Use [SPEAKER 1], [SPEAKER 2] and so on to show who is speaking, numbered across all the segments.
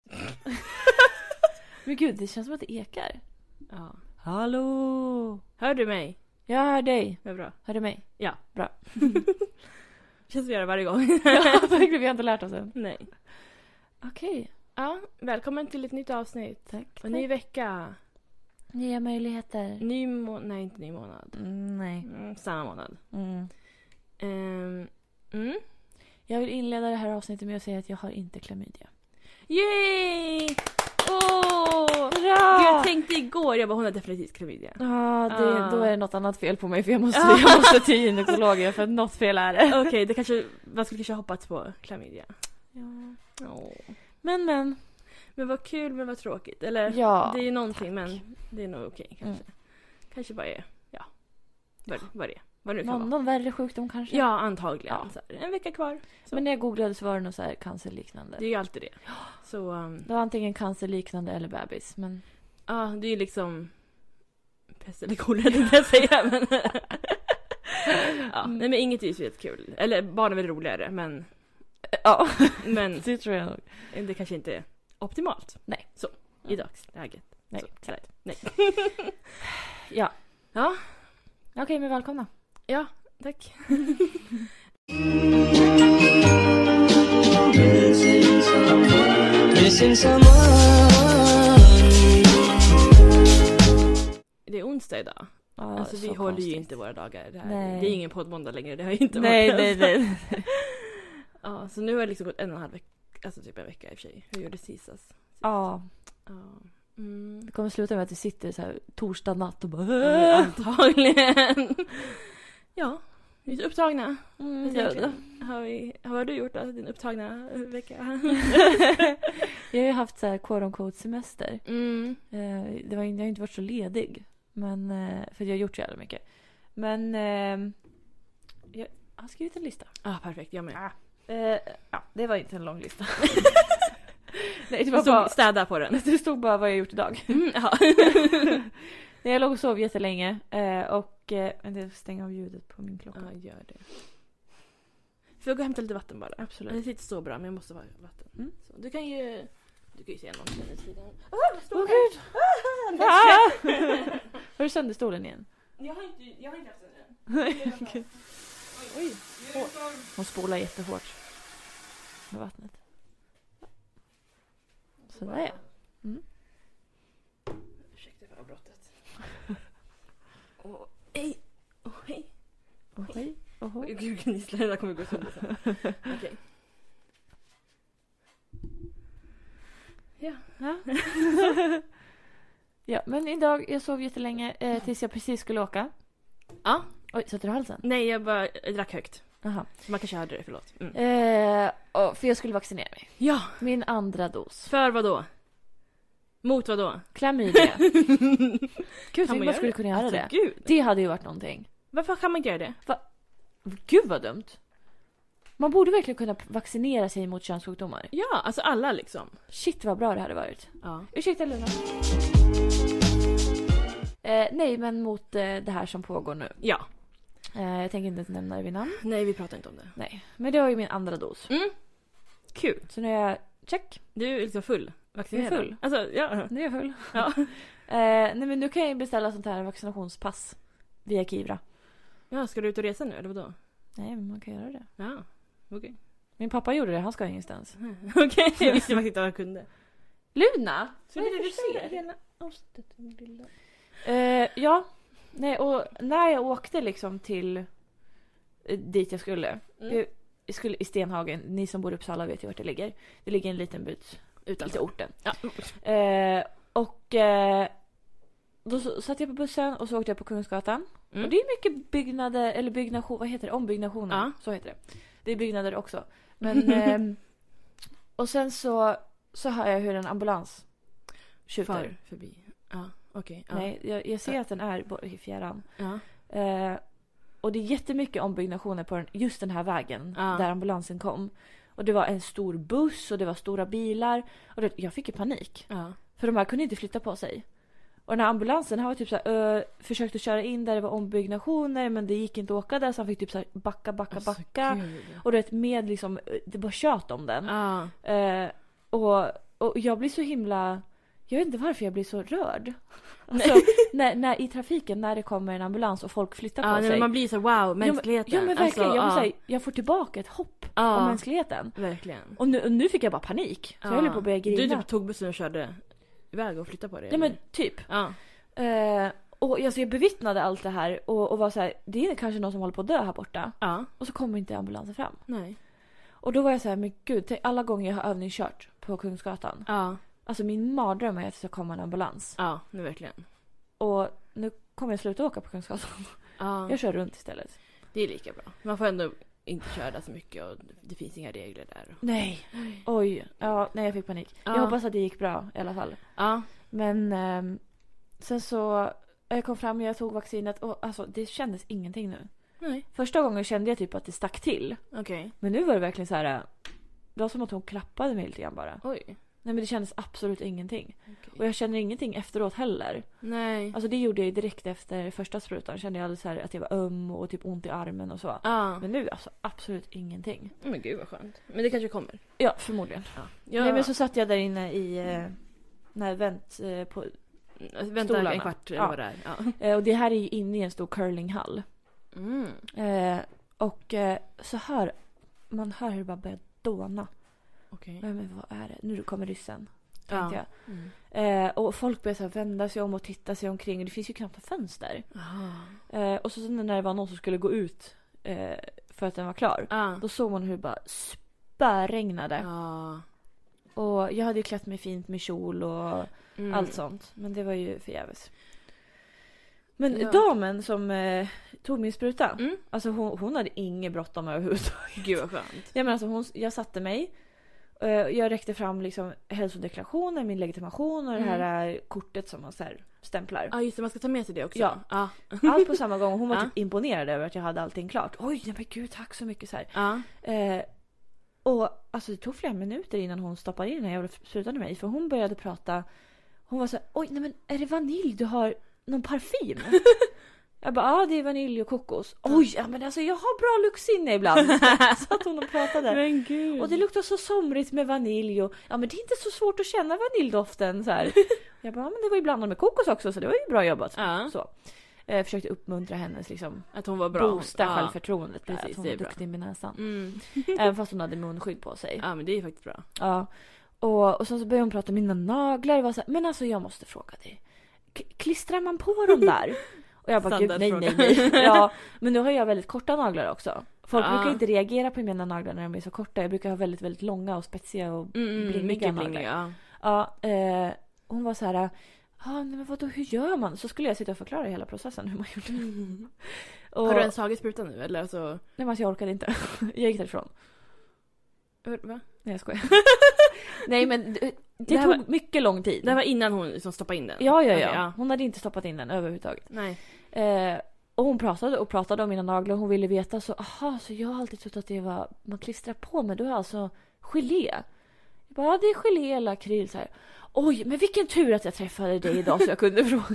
[SPEAKER 1] Men gud, det känns som att det ekar.
[SPEAKER 2] Ja.
[SPEAKER 1] Hallå!
[SPEAKER 2] Hör du mig?
[SPEAKER 1] Jag hör dig.
[SPEAKER 2] Vad bra.
[SPEAKER 1] Hör du mig?
[SPEAKER 2] Ja.
[SPEAKER 1] Bra.
[SPEAKER 2] Känns vi gör det varje gång.
[SPEAKER 1] Ja, verkligen. Vi har inte lärt oss än.
[SPEAKER 2] Nej.
[SPEAKER 1] Okej.
[SPEAKER 2] Ja, välkommen till ett nytt avsnitt.
[SPEAKER 1] Tack.
[SPEAKER 2] Och ny vecka.
[SPEAKER 1] Nya möjligheter.
[SPEAKER 2] Ny månad. Nej, inte ny månad.
[SPEAKER 1] Mm, nej.
[SPEAKER 2] Mm, samma månad.
[SPEAKER 1] Mm.
[SPEAKER 2] Ehm, mm.
[SPEAKER 1] Jag vill inleda det här avsnittet med att säga att jag har inte klamydia.
[SPEAKER 2] Yay! Åh!
[SPEAKER 1] Bra!
[SPEAKER 2] Jag tänkte igår, jag bara hon har definitivt klamydia.
[SPEAKER 1] Ja, det,
[SPEAKER 2] Ah.
[SPEAKER 1] då är det något annat fel på mig för jag måste,
[SPEAKER 2] Ah.
[SPEAKER 1] jag måste till gynekologen för att något fel är det.
[SPEAKER 2] Okej, det kanske, man skulle kanske ha hoppats på klamydia.
[SPEAKER 1] Men men.
[SPEAKER 2] Men vad kul men vad tråkigt. Eller
[SPEAKER 1] Ja, Mm.
[SPEAKER 2] det är ju någonting men det är nog okej kanske. Kanske bara är, ja. Vad, vad det är. Vad det nu kan
[SPEAKER 1] någon,
[SPEAKER 2] vara.
[SPEAKER 1] någon värre sjukdom kanske.
[SPEAKER 2] Ja, antagligen.
[SPEAKER 1] Ja.
[SPEAKER 2] Så här, en vecka kvar. så.
[SPEAKER 1] Men när jag googlade så var det nog så här cancerliknande.
[SPEAKER 2] Det är ju alltid det. Så um,
[SPEAKER 1] Det var antingen cancerliknande eller bebis. Men
[SPEAKER 2] ja, det är ju liksom pest eller kolera tänkte jag säga. Men... ja,
[SPEAKER 1] Mm.
[SPEAKER 2] nej, men inget är ju så jättekul. Eller barn är väl roligare men,
[SPEAKER 1] ja,
[SPEAKER 2] men
[SPEAKER 1] det tror jag nog.
[SPEAKER 2] det kanske inte är optimalt.
[SPEAKER 1] Nej. Mm.
[SPEAKER 2] Så, i dagsläget.
[SPEAKER 1] Nej,
[SPEAKER 2] Så,
[SPEAKER 1] exakt.
[SPEAKER 2] sådär. nej.
[SPEAKER 1] Ja.
[SPEAKER 2] Ja.
[SPEAKER 1] Okej, men välkomna.
[SPEAKER 2] Ja, tack.
[SPEAKER 3] Missing someone.
[SPEAKER 2] Det är onsdag idag.
[SPEAKER 1] Ja,
[SPEAKER 2] alltså vi
[SPEAKER 1] så
[SPEAKER 2] håller ju
[SPEAKER 1] konstigt.
[SPEAKER 2] inte våra dagar. Det,
[SPEAKER 1] Nej.
[SPEAKER 2] här, det är ingen poddmåndag längre, det har ju inte
[SPEAKER 1] Nej,
[SPEAKER 2] varit
[SPEAKER 1] nej,
[SPEAKER 2] ens.
[SPEAKER 1] nej.
[SPEAKER 2] Ja, så nu har det liksom gått en och en halv vecka. Alltså typ en vecka i och för sig. Hur gjorde Sisas?
[SPEAKER 1] Ja,
[SPEAKER 2] Ja. Mm.
[SPEAKER 1] det kommer sluta med att vi sitter så här torsdag natt och bara...
[SPEAKER 2] Mm, Antagligen. ja, vi är så upptagna.
[SPEAKER 1] Mm,
[SPEAKER 2] Jag
[SPEAKER 1] ja,
[SPEAKER 2] tänker, Har, vi, har vad har du gjort då, din upptagna eh, vecka?
[SPEAKER 1] jag har ju haft så här quote on quote semester.
[SPEAKER 2] mm.
[SPEAKER 1] Eh, Det var, jag har inte varit så ledig. Men, eh, för jag har gjort så jävla mycket. Men eh, jag har skrivit en lista.
[SPEAKER 2] Ah, perfekt, jag med.
[SPEAKER 1] Eh, Ja, det var inte en lång lista. Nej, det
[SPEAKER 2] Det
[SPEAKER 1] var bara,
[SPEAKER 2] städa på den.
[SPEAKER 1] det stod bara vad jag gjort idag.
[SPEAKER 2] Mm, ja.
[SPEAKER 1] Nej, jag låg och sov jättelänge eh, och... eh, Vänta, jag får stänga av ljudet på min klocka.
[SPEAKER 2] ja, gör det. Får jag gå och hämta lite vatten bara?
[SPEAKER 1] Absolut.
[SPEAKER 2] Det sitter så bra men jag måste ha vatten.
[SPEAKER 1] Mm.
[SPEAKER 2] Så, du kan ju... Du kan ju säga någonting under tiden.
[SPEAKER 1] Åh gud! Ah! Var du sönder stolen igen?
[SPEAKER 2] Jag har inte, jag har inte haft den än.
[SPEAKER 1] Okej. Oj. Hon spolar jättehårt. Med vattnet. Sådär ja. Mm.
[SPEAKER 2] Ursäkta för avbrottet. Åh, hej! Åh, hej!
[SPEAKER 1] Ohoj,
[SPEAKER 2] Oj,
[SPEAKER 1] ohoj.
[SPEAKER 2] gud, gnisslar. Det där kommer gå sönder sen. Okej. Ja.
[SPEAKER 1] Ja, men idag, jag sov jättelänge eh, tills jag precis skulle åka.
[SPEAKER 2] Ja.
[SPEAKER 1] Oj, satte du halsen?
[SPEAKER 2] Nej, jag bara jag drack högt.
[SPEAKER 1] Jaha.
[SPEAKER 2] Man kanske hörde det, förlåt. Mm.
[SPEAKER 1] Eh, och- för jag skulle vaccinera mig.
[SPEAKER 2] Ja,
[SPEAKER 1] Min andra dos.
[SPEAKER 2] för vad då? Mot vad då?
[SPEAKER 1] Klamydia. Gud,
[SPEAKER 2] man
[SPEAKER 1] tänk man
[SPEAKER 2] göra
[SPEAKER 1] skulle
[SPEAKER 2] det?
[SPEAKER 1] kunna göra
[SPEAKER 2] Alltså,
[SPEAKER 1] det.
[SPEAKER 2] gud.
[SPEAKER 1] Det hade ju varit någonting.
[SPEAKER 2] Varför kan man inte göra det?
[SPEAKER 1] Gud vad dumt. Man borde verkligen kunna vaccinera sig mot könssjukdomar.
[SPEAKER 2] Ja, alltså alla liksom.
[SPEAKER 1] Shit vad bra det hade varit.
[SPEAKER 2] Ja.
[SPEAKER 1] Ursäkta Luna. Eh, nej, men mot eh, det här som pågår nu.
[SPEAKER 2] Ja.
[SPEAKER 1] Eh, jag tänker inte ens nämna det vid namn.
[SPEAKER 2] Nej, vi pratar inte om det.
[SPEAKER 1] Nej, men det var ju min andra dos.
[SPEAKER 2] Mm. Kul.
[SPEAKER 1] Så nu är jag check.
[SPEAKER 2] Du är liksom full. Vaccinerad.
[SPEAKER 1] Jag är full.
[SPEAKER 2] Alltså, ja.
[SPEAKER 1] Nu är jag full.
[SPEAKER 2] Ja.
[SPEAKER 1] eh, nej, men nu kan jag ju beställa sånt här vaccinationspass via Kivra.
[SPEAKER 2] ja. Ska du ut och resa nu, eller vadå?
[SPEAKER 1] Nej, men man kan göra det.
[SPEAKER 2] Ja. Okej.
[SPEAKER 1] Min pappa gjorde det. Han ska ingenstans.
[SPEAKER 2] Okej, jag visste faktiskt inte vad jag kunde.
[SPEAKER 1] Luna!
[SPEAKER 2] Så
[SPEAKER 1] Vad är
[SPEAKER 2] det
[SPEAKER 1] det
[SPEAKER 2] du
[SPEAKER 1] för fel?
[SPEAKER 2] ser? Hela avsnittet, min lilla.
[SPEAKER 1] Eh, ja. Nej, och när jag åkte liksom till eh, dit jag skulle.
[SPEAKER 2] Mm.
[SPEAKER 1] Jag skulle i Stenhagen, ni som bor i Uppsala vet ju vart det ligger. Det ligger i en liten by
[SPEAKER 2] Utan.
[SPEAKER 1] lite orten.
[SPEAKER 2] Ja.
[SPEAKER 1] Eh, och eh, då så, satt jag på bussen och så åkte jag på Kungsgatan.
[SPEAKER 2] Mm.
[SPEAKER 1] Och det är mycket byggnader, eller byggnation, vad heter det? Ombyggnationer.
[SPEAKER 2] Ja.
[SPEAKER 1] Så heter det. Det är byggnader också. Men, ehm, och sen så, så hör jag hur en ambulans tjuter.
[SPEAKER 2] Far förbi. Ja, okej. ja.
[SPEAKER 1] Nej, jag, jag ser att den är bo- i fjärran.
[SPEAKER 2] Ja.
[SPEAKER 1] Eh, och det är jättemycket ombyggnationer på den, just den här vägen
[SPEAKER 2] Ja.
[SPEAKER 1] där ambulansen kom. Och det var en stor buss och det var stora bilar. Och det, jag fick ju panik.
[SPEAKER 2] ja.
[SPEAKER 1] För de här kunde inte flytta på sig. Och den här ambulansen han var typ så här, ö, försökte köra in där det var ombyggnationer men det gick inte att åka där så han fick typ så här backa, backa,
[SPEAKER 2] Alltså,
[SPEAKER 1] backa.
[SPEAKER 2] gud.
[SPEAKER 1] och du vet med liksom, det bara tjöt om den.
[SPEAKER 2] Ja.
[SPEAKER 1] Eh, och, och jag blir så himla, Jag vet inte varför jag blir så rörd. Alltså, när, när, I trafiken, när det kommer en ambulans och folk flyttar på
[SPEAKER 2] Ja, nej,
[SPEAKER 1] sig.
[SPEAKER 2] men man blir så wow,
[SPEAKER 1] ja, men,
[SPEAKER 2] mänskligheten.
[SPEAKER 1] ja men verkligen, jag,
[SPEAKER 2] Alltså, ja,
[SPEAKER 1] måste säga, jag får tillbaka ett hopp om
[SPEAKER 2] ja,
[SPEAKER 1] mänskligheten.
[SPEAKER 2] verkligen.
[SPEAKER 1] Och nu, och nu fick jag bara panik. Så jag höll på att börja grina.
[SPEAKER 2] Du typ tog bussen och körde iväg och flyttade på dig?
[SPEAKER 1] Ja men
[SPEAKER 2] eller?
[SPEAKER 1] typ.
[SPEAKER 2] ja.
[SPEAKER 1] Eh, och alltså, jag bevittnade allt det här och, och var så här, det är kanske någon som håller på att dö här borta.
[SPEAKER 2] ja.
[SPEAKER 1] Och så kommer inte ambulansen fram.
[SPEAKER 2] Nej.
[SPEAKER 1] Och då var jag så här, men gud, tänk alla gånger jag har övningskört på Kungsgatan.
[SPEAKER 2] Ja.
[SPEAKER 1] Alltså min mardröm är att det ska komma en ambulans.
[SPEAKER 2] Ja, nu verkligen.
[SPEAKER 1] Och nu kommer jag sluta åka på Kungsgatan.
[SPEAKER 2] Ja.
[SPEAKER 1] Jag kör runt istället.
[SPEAKER 2] Det är lika bra. Man får ändå inte köra där så mycket och det finns inga regler där.
[SPEAKER 1] Nej. Oj. Ja, nej jag fick panik. Jag
[SPEAKER 2] Ja.
[SPEAKER 1] hoppas att det gick bra i alla fall.
[SPEAKER 2] Ja.
[SPEAKER 1] Men ehm, sen så, eh, jag kom fram och jag tog vaccinet och alltså det kändes ingenting nu.
[SPEAKER 2] Nej.
[SPEAKER 1] Första gången kände jag typ att det stack till.
[SPEAKER 2] Okej.
[SPEAKER 1] Men nu var det verkligen så här. eh, Det var som att hon klappade mig lite grann bara.
[SPEAKER 2] Oj.
[SPEAKER 1] Nej men det kändes absolut ingenting. Och jag känner ingenting efteråt heller.
[SPEAKER 2] Nej.
[SPEAKER 1] Alltså det gjorde jag ju direkt efter första sprutan. Kände jag alldeles så här att jag var öm och typ ont i armen och så.
[SPEAKER 2] Ja. Men,
[SPEAKER 1] Men nu alltså absolut ingenting.
[SPEAKER 2] men gud vad skönt. Men det kanske kommer.
[SPEAKER 1] Ja, förmodligen.
[SPEAKER 2] Ja. Jag,
[SPEAKER 1] Nej men så satt jag där inne i... Eh, när vänt eh, på...
[SPEAKER 2] vänta
[SPEAKER 1] stolarna.
[SPEAKER 2] en kvart eller
[SPEAKER 1] Ja.
[SPEAKER 2] vad det är. Ja.
[SPEAKER 1] Eh, och det här är ju inne i en stor curlinghall.
[SPEAKER 2] Mm.
[SPEAKER 1] Eh, och eh, så hör... Man hör hur det bara börjar dåna.
[SPEAKER 2] Okej.
[SPEAKER 1] Nej men vad är det? Nu kommer ryssen. Tänkte
[SPEAKER 2] Ja.
[SPEAKER 1] jag.
[SPEAKER 2] Mm.
[SPEAKER 1] Eh, och folk började så här vända sig om och titta sig omkring. Det finns ju knappt några fönster.
[SPEAKER 2] Ah.
[SPEAKER 1] Eh, och så sen när det var någon som skulle gå ut eh, för att den var klar.
[SPEAKER 2] Ja.
[SPEAKER 1] Då såg man hur det bara spöregnade.
[SPEAKER 2] Ja.
[SPEAKER 1] Och jag hade ju klätt mig fint med kjol och
[SPEAKER 2] Mm.
[SPEAKER 1] allt sånt. Men det var ju förgäves. Men
[SPEAKER 2] Ja.
[SPEAKER 1] damen som eh, tog min spruta.
[SPEAKER 2] Mm.
[SPEAKER 1] Alltså hon, hon hade inget bråttom överhuvudtaget.
[SPEAKER 2] Gud vad skönt.
[SPEAKER 1] Jag, menar, alltså, hon, jag satte mig. eh, Jag räckte fram liksom hälsodeklarationen, min legitimation
[SPEAKER 2] Mm.
[SPEAKER 1] och det här eh, kortet som man så här stämplar.
[SPEAKER 2] Ja just det, man ska ta med sig det också.
[SPEAKER 1] Ja.
[SPEAKER 2] Ja.
[SPEAKER 1] Allt på samma gång. Hon var
[SPEAKER 2] Ja.
[SPEAKER 1] typ imponerad över att jag hade allting klart. Oj, nej men gud tack så mycket så här.
[SPEAKER 2] Ja.
[SPEAKER 1] Eh, och alltså det tog flera minuter innan hon stoppade in den här jävla sprutan i mig. För hon började prata. Hon var så här, oj nej men är det vanilj du har? Någon parfym? jag bara, ja ah, det är vanilj och kokos. Oj, ja men alltså jag har bra luxinne ibland. så att hon och pratade.
[SPEAKER 2] Men gud.
[SPEAKER 1] Och det luktar så somrigt med vanilj och ja men det är inte så svårt att känna vaniljdoften så här. Jag bara, ja, men det var ju blandat med kokos också så det var ju bra jobbat.
[SPEAKER 2] Ja.
[SPEAKER 1] Så. Eh, försökte uppmuntra hennes liksom
[SPEAKER 2] Att hon var bra.
[SPEAKER 1] boosta
[SPEAKER 2] ja.
[SPEAKER 1] självförtroendet där,
[SPEAKER 2] Precis,
[SPEAKER 1] att hon
[SPEAKER 2] det
[SPEAKER 1] var
[SPEAKER 2] är bra.
[SPEAKER 1] duktig med näsan.
[SPEAKER 2] Mm.
[SPEAKER 1] Även fast hon hade munskydd på sig.
[SPEAKER 2] Ja men det är faktiskt bra.
[SPEAKER 1] Ja. Och, och sen så började hon prata om mina naglar och var så här, men alltså jag måste fråga dig. K- klistrar man på dem där? Och jag bara gud nej nej
[SPEAKER 2] Standardfråga.
[SPEAKER 1] nej. Ja, men nu har jag väldigt korta naglar också. Folk
[SPEAKER 2] Ja.
[SPEAKER 1] brukar inte reagera på mina naglar när de är så korta. Jag brukar ha väldigt väldigt långa och spetsiga och
[SPEAKER 2] Mm, mm,
[SPEAKER 1] blingiga
[SPEAKER 2] mycket
[SPEAKER 1] naglar.
[SPEAKER 2] blingiga. Ja.
[SPEAKER 1] Ja, eh, hon var så här. Ja, nej men vadå, hur gör man? Så skulle jag sitta och förklara hela processen hur man gjorde. Och,
[SPEAKER 2] Har du ens tagit sprutan nu eller? Alltså...
[SPEAKER 1] Nej men alltså jag orkade inte. Jag gick därifrån.
[SPEAKER 2] Va?
[SPEAKER 1] Nej jag skojar. nej men det, det
[SPEAKER 2] Det här
[SPEAKER 1] tog
[SPEAKER 2] var-
[SPEAKER 1] mycket lång tid.
[SPEAKER 2] Det här var innan hon liksom stoppade in den?
[SPEAKER 1] Ja, ja,
[SPEAKER 2] Okej,
[SPEAKER 1] ja. Hon hade inte stoppat in den överhuvudtaget.
[SPEAKER 2] Nej.
[SPEAKER 1] Eh, och hon pratade och pratade om mina naglar. Hon ville veta så, aha, så jag har alltid trott att det var, man klistrar på men du har alltså gelé. Jag bara, ja det är gelé eller akryl så här. Oj, men vilken tur att jag träffade dig idag så jag kunde fråga.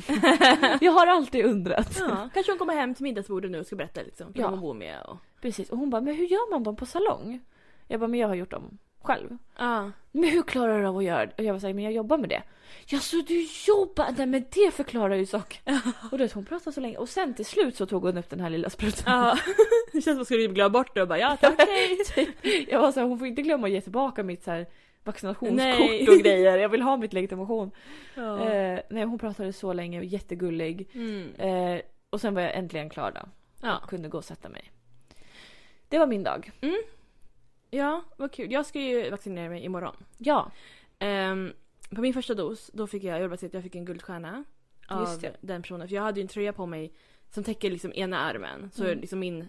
[SPEAKER 1] jag har alltid undrat.
[SPEAKER 2] Ja. Kanske hon kommer hem till middagsbordet nu och ska berätta liksom. För
[SPEAKER 1] Ja.
[SPEAKER 2] ja. hon bor med och...
[SPEAKER 1] Precis, och hon bara, men hur gör man dem på salong? Jag bara, men jag har gjort dem själv.
[SPEAKER 2] Ja.
[SPEAKER 1] Men hur klarar du av att göra det? Och jag var såhär, men jag jobbar med det. Ja, så du jobbar? Nej men det förklarar ju saken. och då hon pratade så länge. Och sen till slut så tog hon upp den här lilla sprutan.
[SPEAKER 2] ja. det känns som att man skulle glömma bort det och bara ja tack hej.
[SPEAKER 1] typ. Jag var såhär, hon får inte glömma att ge tillbaka mitt så här vaccinationskort
[SPEAKER 2] Nej.
[SPEAKER 1] och grejer. Jag vill ha mitt legitimation.
[SPEAKER 2] Ja.
[SPEAKER 1] Eh, nej, hon pratade så länge och jättegullig.
[SPEAKER 2] Mm.
[SPEAKER 1] Eh, och sen var jag äntligen klar då.
[SPEAKER 2] Ja.
[SPEAKER 1] Kunde gå och sätta mig. Det var min dag.
[SPEAKER 2] ja, vad kul. Jag ska ju vaccinera mig imorgon.
[SPEAKER 1] Ja.
[SPEAKER 2] Ehm, på min första dos, då fick jag, jag vill bara säga att jag fick en guldstjärna.
[SPEAKER 1] Just
[SPEAKER 2] Av
[SPEAKER 1] det.
[SPEAKER 2] den personen. För jag hade ju en tröja på mig som täcker liksom ena armen. Så
[SPEAKER 1] Mm.
[SPEAKER 2] liksom min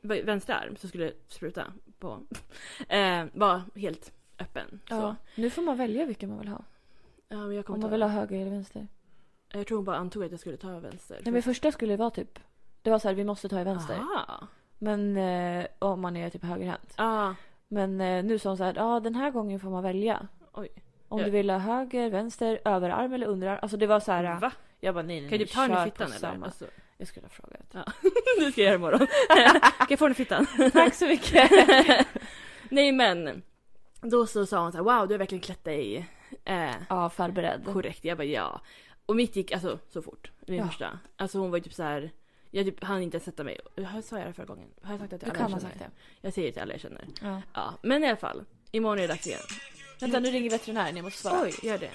[SPEAKER 2] v- vänstra arm som skulle spruta på eh, var helt öppen. Så.
[SPEAKER 1] ja. Nu får man välja vilken man vill ha.
[SPEAKER 2] Ja, men jag, kommer
[SPEAKER 1] Om
[SPEAKER 2] ta
[SPEAKER 1] man vill ha höger eller vänster.
[SPEAKER 2] jag tror hon bara antog att jag skulle ta vänster.
[SPEAKER 1] Nej men första skulle det vara typ. Det var så här, vi måste ta i vänster.
[SPEAKER 2] Aha.
[SPEAKER 1] Men eh, om man är typ högerhänt.
[SPEAKER 2] Ja,
[SPEAKER 1] Men eh, nu sa hon så här, ja den här gången får man välja.
[SPEAKER 2] oj.
[SPEAKER 1] Om
[SPEAKER 2] Ja.
[SPEAKER 1] du vill ha höger, vänster, överarm eller underarm. Alltså det var så här.
[SPEAKER 2] Va?
[SPEAKER 1] Jag bara nej nej,
[SPEAKER 2] Kan jag
[SPEAKER 1] nej
[SPEAKER 2] typ ta den
[SPEAKER 1] kör på
[SPEAKER 2] i fittan eller?
[SPEAKER 1] samma.
[SPEAKER 2] Alltså,
[SPEAKER 1] Jag skulle ha frågat.
[SPEAKER 2] nu ska jag göra det imorgon. kan jag få den i fittan?
[SPEAKER 1] Tack så mycket.
[SPEAKER 2] Nej men. Då så sa hon så här, wow du har verkligen klätt dig Eh,
[SPEAKER 1] Ja, förberedd.
[SPEAKER 2] korrekt. Jag bara ja. Och mitt gick alltså så fort. Min
[SPEAKER 1] Ja.
[SPEAKER 2] första. Alltså hon var ju typ så här. Jag typ, hann inte ens sätta mig. Har- Sa jag det förra gången? Har jag sagt att
[SPEAKER 1] Du
[SPEAKER 2] jag
[SPEAKER 1] kan ha sagt det.
[SPEAKER 2] Jag säger det till alla jag känner.
[SPEAKER 1] Ja.
[SPEAKER 2] Ja, men i alla fall. Imorgon är det dags igen.
[SPEAKER 1] Vänta, nu ringer veterinären. Jag måste svara.
[SPEAKER 2] Oj, gör det.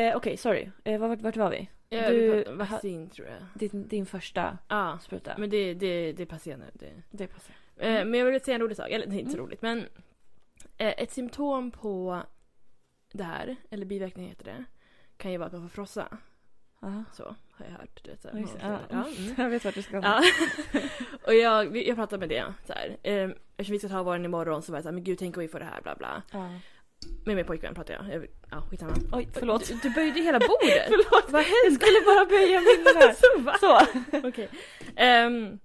[SPEAKER 1] Eh, Okej, sorry. Eh, vart, vart var vi?
[SPEAKER 2] Jag
[SPEAKER 1] Du-
[SPEAKER 2] du... vaccin tror jag.
[SPEAKER 1] Din, din första
[SPEAKER 2] Ja,
[SPEAKER 1] spruta.
[SPEAKER 2] men det, det, det är passé nu. Det.
[SPEAKER 1] det passar.
[SPEAKER 2] Eh, Men jag vill säga en rolig sak. Eller det är inte så
[SPEAKER 1] Mm.
[SPEAKER 2] roligt men. eh, Ett symptom på det här, eller biverkning heter det, kan ju vara att man får frossa.
[SPEAKER 1] Ja.
[SPEAKER 2] Så har jag hört. Du vet, så här,
[SPEAKER 1] Ja, just det.
[SPEAKER 2] man-
[SPEAKER 1] Ja.
[SPEAKER 2] ja, mm.
[SPEAKER 1] Jag vet vart du ska.
[SPEAKER 2] Ja. och jag, vi- jag pratade med det så här. Eh, Eftersom vi ska ta våren imorgon så var jag såhär, men gud tänk om vi får det här bla bla.
[SPEAKER 1] Ja.
[SPEAKER 2] Med min pojkvän pratade jag. jag ja, skitsamma.
[SPEAKER 1] Oj, förlåt.
[SPEAKER 2] Du, du böjde hela bordet.
[SPEAKER 1] förlåt.
[SPEAKER 2] Vad
[SPEAKER 1] Jag
[SPEAKER 2] hände?
[SPEAKER 1] skulle bara böja minnen här.
[SPEAKER 2] Så, va?
[SPEAKER 1] Så.
[SPEAKER 2] Okej. Ehm,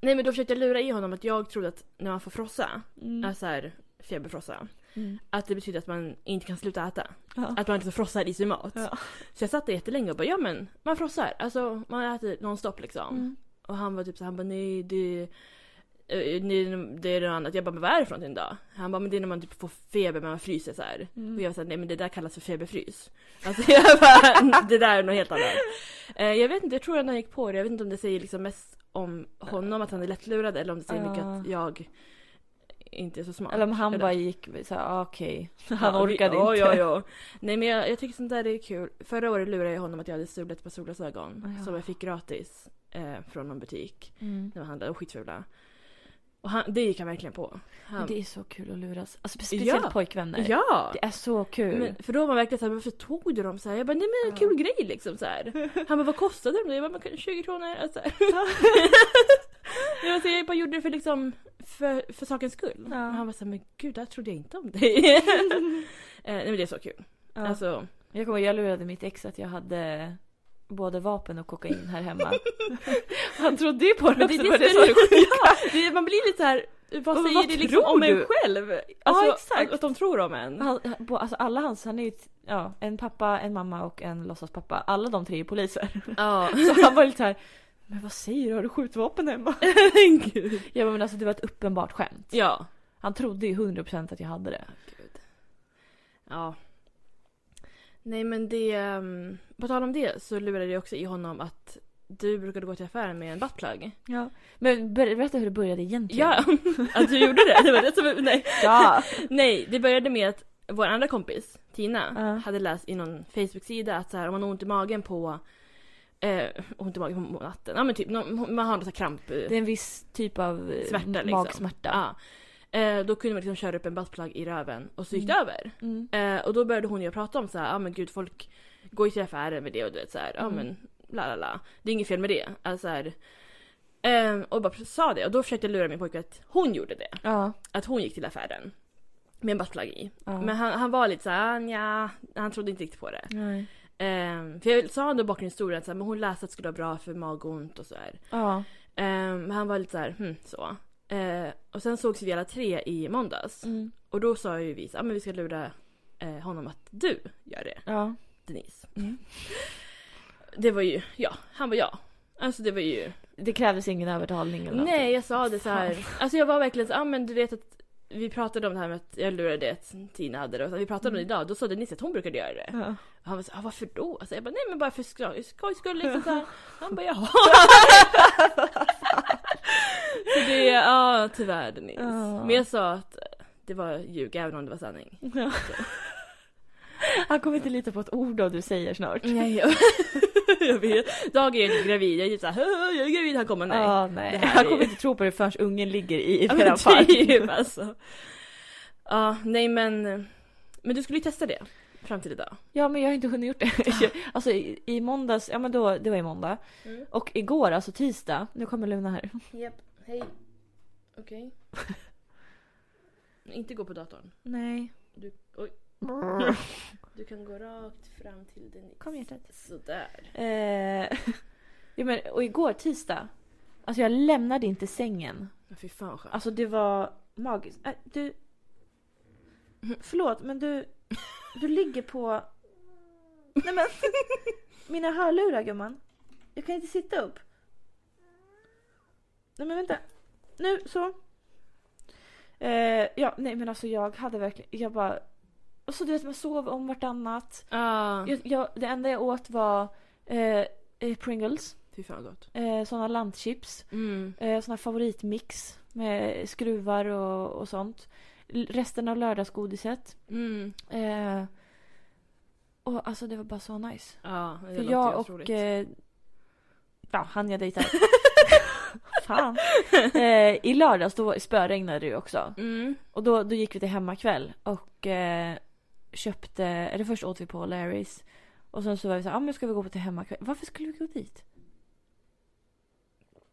[SPEAKER 2] nej men då försökte jag lura i honom att jag trodde att när man får frossa,
[SPEAKER 1] Mm.
[SPEAKER 2] alltså här, feberfrossa,
[SPEAKER 1] Mm.
[SPEAKER 2] att det betyder att man inte kan sluta äta.
[SPEAKER 1] Ja.
[SPEAKER 2] Att man inte frossar i sig mat.
[SPEAKER 1] Ja.
[SPEAKER 2] Så jag satt där jättelänge och bara ja men man frossar, alltså man äter nonstop liksom.
[SPEAKER 1] Mm.
[SPEAKER 2] Och han var typ så här, han bara nej det, eh, nej, det är något annat. Jag bara men vad är det för någonting då? Han bara men det är när man typ får feber men man fryser så här.
[SPEAKER 1] Mm.
[SPEAKER 2] Och jag var såhär, nej men det där kallas för feberfrys. Alltså jag bara, det där är något helt annat. Eh, jag vet inte, jag tror att han gick på det. Jag vet inte om det säger liksom mest om honom, att han är lättlurad eller om det säger mycket
[SPEAKER 1] Ja.
[SPEAKER 2] att jag inte är så smart.
[SPEAKER 1] Ah. Eller om han
[SPEAKER 2] Eller-
[SPEAKER 1] bara gick så här, ah, okej. Han
[SPEAKER 2] Ja, vi-
[SPEAKER 1] orkade
[SPEAKER 2] ja,
[SPEAKER 1] inte.
[SPEAKER 2] Ja, ja. Nej men jag, jag tycker sånt där är kul. Förra året lurade jag honom att jag hade stulit ett par solglasögon
[SPEAKER 1] Ah, Ja.
[SPEAKER 2] som jag fick gratis eh, från någon butik
[SPEAKER 1] Mm.
[SPEAKER 2] när man handlade, och skitfula. Och han, det gick han verkligen på. Han,
[SPEAKER 1] Men Det är så kul att luras. Alltså, speciellt
[SPEAKER 2] Ja.
[SPEAKER 1] pojkvänner.
[SPEAKER 2] ja!
[SPEAKER 1] Det är så kul.
[SPEAKER 2] Men, för då var man verkligen såhär, varför tog du dem? Så här, jag bara, nej men en
[SPEAKER 1] Ja.
[SPEAKER 2] kul grej liksom. Så här. Han bara, vad kostade de? då? Jag bara, "Men kanske 20 kronor. Alltså. jag, bara, jag bara gjorde det för, liksom, för, för sakens skull.
[SPEAKER 1] Ja.
[SPEAKER 2] Och han var såhär, men gud det här trodde jag inte om dig. eh, nej men det är så kul.
[SPEAKER 1] ja.
[SPEAKER 2] Alltså,
[SPEAKER 1] Jag kommer ihåg, jag lurade mitt ex att jag hade både vapen och kokain här hemma. Han trodde ju på det
[SPEAKER 2] Men
[SPEAKER 1] också.
[SPEAKER 2] det är
[SPEAKER 1] var
[SPEAKER 2] det som är
[SPEAKER 1] som-
[SPEAKER 2] det, man blir lite såhär, vad
[SPEAKER 1] Men
[SPEAKER 2] säger
[SPEAKER 1] vad
[SPEAKER 2] det liksom
[SPEAKER 1] tror
[SPEAKER 2] om en
[SPEAKER 1] du?
[SPEAKER 2] själv?
[SPEAKER 1] Ja, exakt.
[SPEAKER 2] Att, att de tror om en.
[SPEAKER 1] han, han- bo- alltså alla hans, han är ju ett- ja, en pappa, en mamma och en låtsaspappa. Alla de tre är poliser.
[SPEAKER 2] Ja.
[SPEAKER 1] Så han var lite såhär, men vad säger du? Har du skjutvapen hemma? Jag bara, men alltså det var ett uppenbart skämt.
[SPEAKER 2] ja.
[SPEAKER 1] Han trodde ju 100% att jag hade det.
[SPEAKER 2] Gud. Ja. Nej men det... ehm, På tal om det så lurade jag också i honom att du brukade gå till affären med en buttplug.
[SPEAKER 1] Ja. Men ber- berätta hur det började egentligen.
[SPEAKER 2] Ja, att du gjorde det. det, var det som, nej.
[SPEAKER 1] ja.
[SPEAKER 2] nej, det började med att vår andra kompis, Tina,
[SPEAKER 1] Ja.
[SPEAKER 2] hade läst i någon Facebook-sida att så här, om man har ont i magen på... Eh, ont i magen på natten, ja men typ, någon- man har någon sån här kramp... eh,
[SPEAKER 1] Det är en viss typ av eh,
[SPEAKER 2] Smärta, liksom.
[SPEAKER 1] magsmärta.
[SPEAKER 2] Ja. Eh, då kunde man liksom köra upp en buttplug i röven och så gick det över.
[SPEAKER 1] Mm.
[SPEAKER 2] Eh, och då började hon ju prata om så här, ja ah, men gud folk går ju till affären med det och du vet så här, ja ah,
[SPEAKER 1] Mm.
[SPEAKER 2] men la la la. Det är inget fel med det. Alltså här, eh, och bara sa det och då försökte jag lura min pojke att hon gjorde det.
[SPEAKER 1] Ja.
[SPEAKER 2] Att hon gick till affären. Med en buttplug i.
[SPEAKER 1] ja.
[SPEAKER 2] Men han, han var lite såhär, ja, han trodde inte riktigt på det.
[SPEAKER 1] Nej.
[SPEAKER 2] Eh, för jag sa ändå bakgrundshistorien att så här, men hon läste att det skulle vara bra för magont och så här.
[SPEAKER 1] Ja.
[SPEAKER 2] Eh, men han var lite så här, hm, så. Eh, och sen sågs vi alla tre i måndags.
[SPEAKER 1] Mm.
[SPEAKER 2] Och då sa ju vi så, ah, men vi ska lura eh, honom att du gör det,
[SPEAKER 1] Ja.
[SPEAKER 2] Denise.
[SPEAKER 1] Mm.
[SPEAKER 2] Det var ju, ja, han var jag. Alltså det var ju...
[SPEAKER 1] Det krävdes ingen övertalning eller
[SPEAKER 2] Nej, jag sa det så här. Alltså jag var verkligen så, ah, men du vet att vi pratade om det här med att jag lurade det att Tina hade det. Och så, vi pratade om det
[SPEAKER 1] Mm.
[SPEAKER 2] idag, då sa Denise att hon brukade göra det.
[SPEAKER 1] någonting. Ja.
[SPEAKER 2] Och han var så, ah, varför då? Alltså jag bara, nej men bara för skoj- skojs skull liksom så här. Han bara, jaha. så det, ja tyvärr Denise.
[SPEAKER 1] Ja.
[SPEAKER 2] Men jag sa att det var ljug även om det var sanning.
[SPEAKER 1] Ja. Han kommer inte lita på ett ord av du säger snart.
[SPEAKER 2] Nej, jag, jag vet. Dag är jag inte gravid. Jag är typ såhär, "Hö, jag är gravid, han kommer Mm, nej.
[SPEAKER 1] Ja, nej.
[SPEAKER 2] Det här
[SPEAKER 1] Han
[SPEAKER 2] är-
[SPEAKER 1] kommer inte tro på det förrän ungen ligger i
[SPEAKER 2] Ja, men
[SPEAKER 1] deras famn.
[SPEAKER 2] typ, alltså. Ja, nej men. Men du skulle ju testa det fram till idag.
[SPEAKER 1] Ja, men jag har inte hunnit gjort det. Alltså i, i måndags, ja men då, det var i måndag.
[SPEAKER 2] Mm.
[SPEAKER 1] Och igår, alltså tisdag, nu kommer Luna här.
[SPEAKER 2] Japp, hej. Okej. Inte gå på datorn.
[SPEAKER 1] Nej.
[SPEAKER 2] Du, du kan gå rakt fram till den.
[SPEAKER 1] Kom hjärtat.
[SPEAKER 2] Sådär.
[SPEAKER 1] Eh, ja, men, och igår tisdag, alltså jag lämnade inte sängen.
[SPEAKER 2] Men fy fan vad skönt.
[SPEAKER 1] Alltså det var magiskt. Äh, du... Förlåt, men du... Du ligger på... Nej men! Mina hörlurar gumman. Jag kan inte sitta upp. Nej men vänta. Nu så. Eh, ja, nej men alltså jag hade verkligen, jag bara... Och så du vet man sov om vartannat.
[SPEAKER 2] Ja.
[SPEAKER 1] Jag, jag, det enda jag åt var eh, eh, Pringles,
[SPEAKER 2] Fy fan vad gott.
[SPEAKER 1] eh, sådana lantchips,
[SPEAKER 2] Mm.
[SPEAKER 1] eh, sådana favoritmix med skruvar och, och sånt. L- resten av lördagsgodiset.
[SPEAKER 2] Mm.
[SPEAKER 1] Eh, och alltså det var bara så nice.
[SPEAKER 2] Ja, det
[SPEAKER 1] För
[SPEAKER 2] låter
[SPEAKER 1] jag
[SPEAKER 2] otroligt.
[SPEAKER 1] och... Eh, ja, han jag dejtar. Fan. Eh, I lördags då spöregnade det ju också.
[SPEAKER 2] Mm.
[SPEAKER 1] Och då, då gick vi till hemmakväll och eh, köpte, eller först åt vi på Larrys. Och sen så var vi så här, ah, men ska vi gå på till hemmakväll. Varför skulle vi gå dit?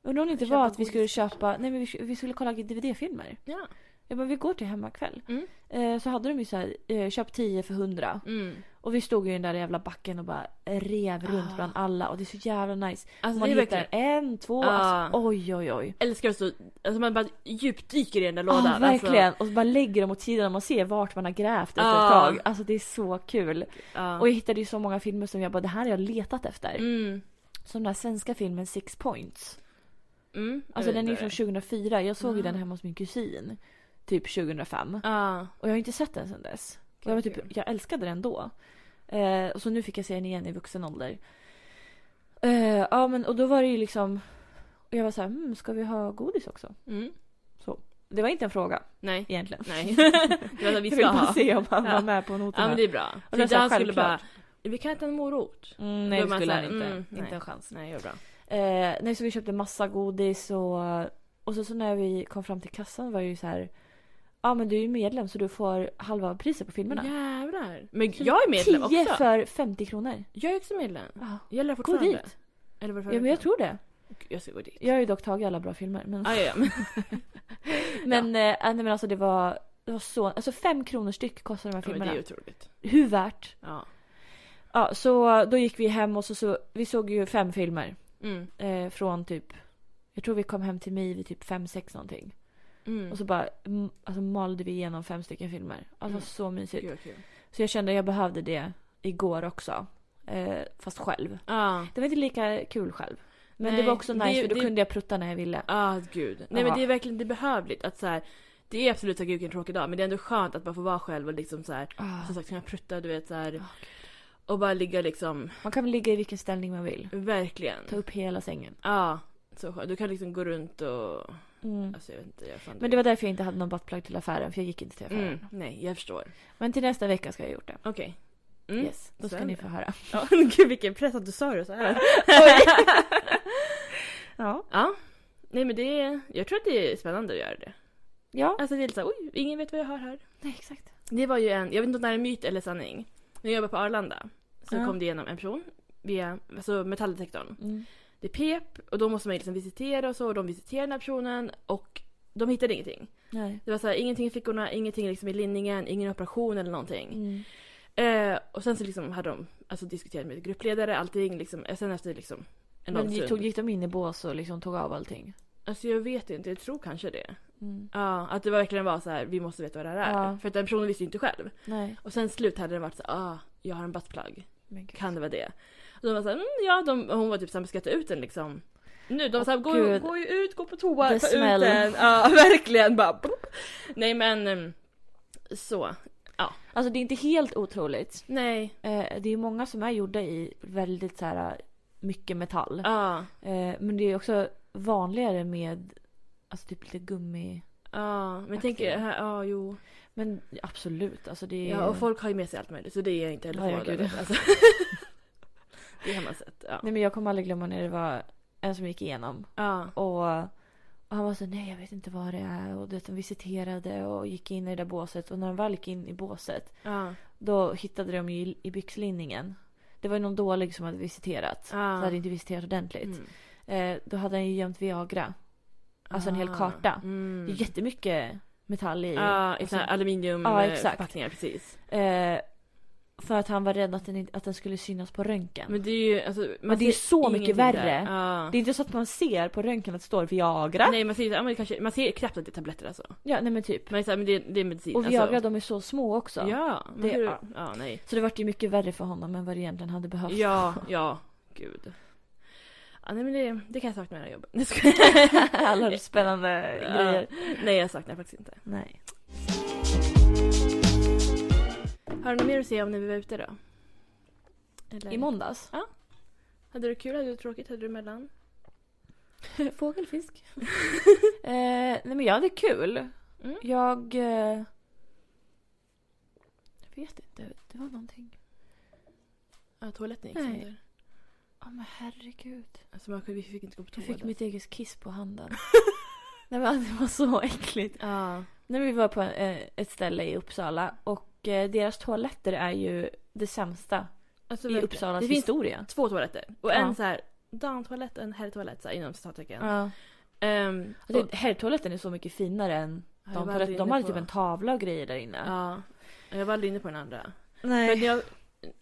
[SPEAKER 1] Undrar om det inte
[SPEAKER 2] Köpa
[SPEAKER 1] var att vi
[SPEAKER 2] godis.
[SPEAKER 1] skulle köpa, nej men vi, vi skulle kolla DVD-filmer.
[SPEAKER 2] Ja.
[SPEAKER 1] Ja men vi går till hemmakväll.
[SPEAKER 2] Mm.
[SPEAKER 1] Eh, så hade de ju så här, eh, köp 10 för 100.
[SPEAKER 2] Mm.
[SPEAKER 1] Och vi stod ju i den där jävla backen och bara rev runt
[SPEAKER 2] Ah.
[SPEAKER 1] bland alla och det är så jävla nice.
[SPEAKER 2] Alltså
[SPEAKER 1] Man
[SPEAKER 2] det är
[SPEAKER 1] hittar
[SPEAKER 2] verkligen...
[SPEAKER 1] en, två,
[SPEAKER 2] Ah.
[SPEAKER 1] alltså, oj oj oj.
[SPEAKER 2] Älskar att så... Alltså man bara djupdyker i den där
[SPEAKER 1] Ja,
[SPEAKER 2] lådan.
[SPEAKER 1] verkligen.
[SPEAKER 2] Alltså,
[SPEAKER 1] Och så bara lägger dem åt sidan och man ser vart man har grävt efter
[SPEAKER 2] Ja.
[SPEAKER 1] ett tag. Alltså det är så kul.
[SPEAKER 2] ja.
[SPEAKER 1] Och jag hittade ju så många filmer som jag bara, det här har jag letat efter.
[SPEAKER 2] Mm.
[SPEAKER 1] Som den här svenska filmen Six Points.
[SPEAKER 2] Mm. jag
[SPEAKER 1] Alltså
[SPEAKER 2] vet
[SPEAKER 1] den är ju
[SPEAKER 2] inte.
[SPEAKER 1] från 2004, jag såg ju
[SPEAKER 2] Ah.
[SPEAKER 1] den hemma hos min kusin. Typ 2005.
[SPEAKER 2] Ja.
[SPEAKER 1] Och jag har inte sett den sedan dess. Jag, var
[SPEAKER 2] Vad
[SPEAKER 1] typ,
[SPEAKER 2] kul.
[SPEAKER 1] jag älskade den då. Eh, och så nu fick jag se den igen i vuxen ålder. Eh, ja men och då var det ju liksom, och jag var så här, hmm, ska vi ha godis också?
[SPEAKER 2] Mm.
[SPEAKER 1] Det var inte en fråga
[SPEAKER 2] Nej.
[SPEAKER 1] egentligen.
[SPEAKER 2] Nej. det var så här, vi
[SPEAKER 1] Jag
[SPEAKER 2] ska
[SPEAKER 1] vill bara
[SPEAKER 2] ha.
[SPEAKER 1] se om han
[SPEAKER 2] Ja.
[SPEAKER 1] var med på noterna.
[SPEAKER 2] Ja men det är bra.
[SPEAKER 1] Och det är
[SPEAKER 2] För
[SPEAKER 1] så här
[SPEAKER 2] han skulle bara...
[SPEAKER 1] självklart.
[SPEAKER 2] Vi kan äta en morot.
[SPEAKER 1] Mm,
[SPEAKER 2] Då
[SPEAKER 1] nej
[SPEAKER 2] är
[SPEAKER 1] det
[SPEAKER 2] man
[SPEAKER 1] skulle
[SPEAKER 2] så här,
[SPEAKER 1] han inte.
[SPEAKER 2] mm,
[SPEAKER 1] inte
[SPEAKER 2] nej.
[SPEAKER 1] en chans.
[SPEAKER 2] Nej, gör bra.
[SPEAKER 1] Eh, nej så vi köpte massa godis och, och så, så när vi kom fram till kassan var det ju så här. Ja men du är ju medlem så du får halva priset på filmerna.
[SPEAKER 2] Jävlar. Men jag är medlem
[SPEAKER 1] 10
[SPEAKER 2] också.
[SPEAKER 1] för 50 kronor.
[SPEAKER 2] Jag är också medlem.
[SPEAKER 1] Ja.
[SPEAKER 2] Gäller det
[SPEAKER 1] Gå
[SPEAKER 2] fortfarande?
[SPEAKER 1] dit.
[SPEAKER 2] Eller varför?
[SPEAKER 1] Ja men jag tror det.
[SPEAKER 2] jag ska gå dit.
[SPEAKER 1] Jag har ju dock tagit alla bra filmer. Men,
[SPEAKER 2] Ah, ja, ja. men-
[SPEAKER 1] men, eh, nej, men alltså det var, det var så, alltså 5 kronor styck kostade de här
[SPEAKER 2] ja, men det
[SPEAKER 1] filmerna.
[SPEAKER 2] är ju otroligt.
[SPEAKER 1] Hur värt?
[SPEAKER 2] Ja.
[SPEAKER 1] Ja så då gick vi hem och så, så vi såg ju fem filmer.
[SPEAKER 2] Mm.
[SPEAKER 1] Eh, från typ, jag tror vi kom hem till mig vid typ 5-6 någonting.
[SPEAKER 2] Mm.
[SPEAKER 1] Och så bara mm, alltså, malde vi igenom fem stycken filmer. Alltså
[SPEAKER 2] Mm.
[SPEAKER 1] så mysigt.
[SPEAKER 2] Gud, vad kul.
[SPEAKER 1] Så jag kände att jag behövde det igår också. Eh, fast själv.
[SPEAKER 2] Ja.
[SPEAKER 1] Det var inte lika kul själv. Men
[SPEAKER 2] Nej,
[SPEAKER 1] det var också
[SPEAKER 2] det är
[SPEAKER 1] nice
[SPEAKER 2] ju-
[SPEAKER 1] för då
[SPEAKER 2] det-
[SPEAKER 1] kunde jag prutta när jag ville.
[SPEAKER 2] Ah, gud. Nej men
[SPEAKER 1] Ja.
[SPEAKER 2] det är verkligen det är behövligt att så här. Det är absolut så här, gud vilken tråkig dag men det är ändå skönt att bara få vara själv och liksom så här. Som sagt kunna prutta du vet så här.
[SPEAKER 1] gud.
[SPEAKER 2] och bara ligga liksom
[SPEAKER 1] Man kan väl ligga i vilken ställning man vill.
[SPEAKER 2] verkligen.
[SPEAKER 1] Ta upp hela sängen.
[SPEAKER 2] Ja. Så skönt. Du kan liksom gå runt och
[SPEAKER 1] Mm.
[SPEAKER 2] alltså jag vet inte. Jag fan
[SPEAKER 1] Men det var därför jag inte hade någon buttplug till affären för jag gick inte till affären.
[SPEAKER 2] mm. Nej jag förstår.
[SPEAKER 1] Men till nästa vecka ska jag ha gjort det.
[SPEAKER 2] Okej. Mm.
[SPEAKER 1] Yes, då
[SPEAKER 2] Så
[SPEAKER 1] ska
[SPEAKER 2] är
[SPEAKER 1] ni
[SPEAKER 2] det.
[SPEAKER 1] få höra.
[SPEAKER 2] Ja, gud vilken press att du sa det så här.
[SPEAKER 1] Ja.
[SPEAKER 2] ja. Nej men det är, jag tror att det är spännande att göra det.
[SPEAKER 1] Ja,
[SPEAKER 2] Alltså det är lite såhär, oj, ingen vet vad jag har här.
[SPEAKER 1] nej exakt.
[SPEAKER 2] Det var ju en, jag vet inte om det här är myt eller sanning. När jag jobbade på Arlanda så
[SPEAKER 1] Ja.
[SPEAKER 2] kom det igenom en person via alltså metalldetektorn.
[SPEAKER 1] Mm.
[SPEAKER 2] Det pep och då måste man ju liksom visitera och så och de visiterade den här personen och de hittade ingenting.
[SPEAKER 1] Nej.
[SPEAKER 2] Det var så här, ingenting i fickorna, ingenting liksom i linningen, ingen operation eller någonting.
[SPEAKER 1] Mm.
[SPEAKER 2] Eh, och sen så liksom hade de alltså, diskuterat med gruppledare, allting liksom. eh, Sen efter liksom en
[SPEAKER 1] Men
[SPEAKER 2] lång
[SPEAKER 1] gick,
[SPEAKER 2] stund.
[SPEAKER 1] tog, gick de in i bås och liksom tog av allting?
[SPEAKER 2] Alltså jag vet inte, jag tror kanske det.
[SPEAKER 1] Mm.
[SPEAKER 2] Ja, att det verkligen var så här, vi måste veta vad det här är.
[SPEAKER 1] Ja.
[SPEAKER 2] För att den personen visste ju inte själv.
[SPEAKER 1] Nej.
[SPEAKER 2] Och sen slut hade det varit så här, ah, jag har en buttplug.
[SPEAKER 1] Men gud.
[SPEAKER 2] Kan det vara det? Och de var såhär, mm, ja, de, och hon var typ såhär, ska jag ta ut den liksom? Nu, de var såhär,
[SPEAKER 1] Åh,
[SPEAKER 2] gå, ju-
[SPEAKER 1] gud.
[SPEAKER 2] gå ju ut, gå på toa,
[SPEAKER 1] The
[SPEAKER 2] ta
[SPEAKER 1] smell.
[SPEAKER 2] ut den. Ja, verkligen bara. plopp. Nej men, ehm, så.
[SPEAKER 1] Alltså det är inte helt otroligt.
[SPEAKER 2] Nej.
[SPEAKER 1] Eh, det är många som är gjorda i väldigt så här mycket metall.
[SPEAKER 2] Ja.
[SPEAKER 1] Eh, men det är också vanligare med alltså typ lite gummi.
[SPEAKER 2] Ja, men tänk,
[SPEAKER 1] Aktiva.
[SPEAKER 2] här- ja, jo.
[SPEAKER 1] Men absolut, alltså det är...
[SPEAKER 2] Ja, och folk har ju med sig allt möjligt så det är jag inte heller
[SPEAKER 1] Ja, ja,
[SPEAKER 2] förvånad
[SPEAKER 1] gud.
[SPEAKER 2] över. Alltså. Det har man sett. Ja.
[SPEAKER 1] Nej men jag kommer aldrig glömma när det var en som gick igenom
[SPEAKER 2] ja.
[SPEAKER 1] och, och han var så nej jag vet inte vad det är och det, de visiterade och gick in i det där båset och när de väl gick in i båset
[SPEAKER 2] Ja.
[SPEAKER 1] då hittade de ju i, i byxlinningen. Det var ju någon dålig som hade visiterat.
[SPEAKER 2] Ja.
[SPEAKER 1] Så hade inte visiterat ordentligt.
[SPEAKER 2] Ah. Mm.
[SPEAKER 1] Eh, då hade han ju gömt Viagra. Alltså en hel
[SPEAKER 2] Ah,
[SPEAKER 1] karta. Det
[SPEAKER 2] Mm. Ah.
[SPEAKER 1] är jättemycket metall i.
[SPEAKER 2] Ja, i
[SPEAKER 1] och
[SPEAKER 2] såna här
[SPEAKER 1] så- Ja, exakt.
[SPEAKER 2] aluminiumförpackningar, precis.
[SPEAKER 1] eh, för att han var rädd att den, inte- att den skulle synas på röntgen.
[SPEAKER 2] Men det är ju, alltså, man
[SPEAKER 1] Men det är
[SPEAKER 2] ser
[SPEAKER 1] så mycket
[SPEAKER 2] ingenting
[SPEAKER 1] värre.
[SPEAKER 2] där. Ja.
[SPEAKER 1] Det är inte så att man ser på röntgen att det står Viagra.
[SPEAKER 2] Nej man ser, ja, men kanske, man ser knappt att det är tabletter alltså.
[SPEAKER 1] Ja, nej men typ.
[SPEAKER 2] Men, så här, men det, det är medicin.
[SPEAKER 1] Och Viagra
[SPEAKER 2] alltså.
[SPEAKER 1] de är så små också.
[SPEAKER 2] Ja, men
[SPEAKER 1] Det-
[SPEAKER 2] hur,
[SPEAKER 1] ja.
[SPEAKER 2] ja. nej.
[SPEAKER 1] Så det vart ju mycket värre för honom än vad det egentligen hade behövt.
[SPEAKER 2] Ja, ja, gud. Ja, nej men det, det kan jag sakna med det här jobbet. Nej, ska
[SPEAKER 1] Alla spännande grejer.
[SPEAKER 2] Nej jag saknar faktiskt inte.
[SPEAKER 1] Nej.
[SPEAKER 2] Har du något mer att säga om när vi var ute då? Eller?
[SPEAKER 1] I måndags?
[SPEAKER 2] Hade du kul? Hade du tråkigt? Hade du mellan?
[SPEAKER 1] Fågelfisk. eh, nej men jag hade kul.
[SPEAKER 2] Mm.
[SPEAKER 1] Jag... Eh, jag vet inte. Det var någonting.
[SPEAKER 2] Ja, toaletten gick
[SPEAKER 1] Nej.
[SPEAKER 2] sönder.
[SPEAKER 1] Ja men herregud.
[SPEAKER 2] Alltså man, vi fick inte gå på
[SPEAKER 1] Jag
[SPEAKER 2] toaletten.
[SPEAKER 1] fick mitt eget kiss på handen. nej men alltså, det var så äckligt.
[SPEAKER 2] Ja.
[SPEAKER 1] När vi var på eh, ett ställe i Uppsala och eh, deras toaletter är ju det sämsta
[SPEAKER 2] Alltså,
[SPEAKER 1] i
[SPEAKER 2] verkligen.
[SPEAKER 1] Uppsalas
[SPEAKER 2] Det finns
[SPEAKER 1] historia.
[SPEAKER 2] två toaletter. Och
[SPEAKER 1] Ja.
[SPEAKER 2] en så här damtoalett och en herrtoalett så här, inom citattecken.
[SPEAKER 1] Ja.
[SPEAKER 2] Ehm,
[SPEAKER 1] Och det-
[SPEAKER 2] och-
[SPEAKER 1] Herrtoaletten är så mycket finare än
[SPEAKER 2] Ja, jag var aldrig
[SPEAKER 1] damtoaletten. De
[SPEAKER 2] inne
[SPEAKER 1] hade
[SPEAKER 2] på-
[SPEAKER 1] typ en tavla och grejer där inne.
[SPEAKER 2] Ja. Jag var aldrig inne på den andra. För att
[SPEAKER 1] Nej.
[SPEAKER 2] jag,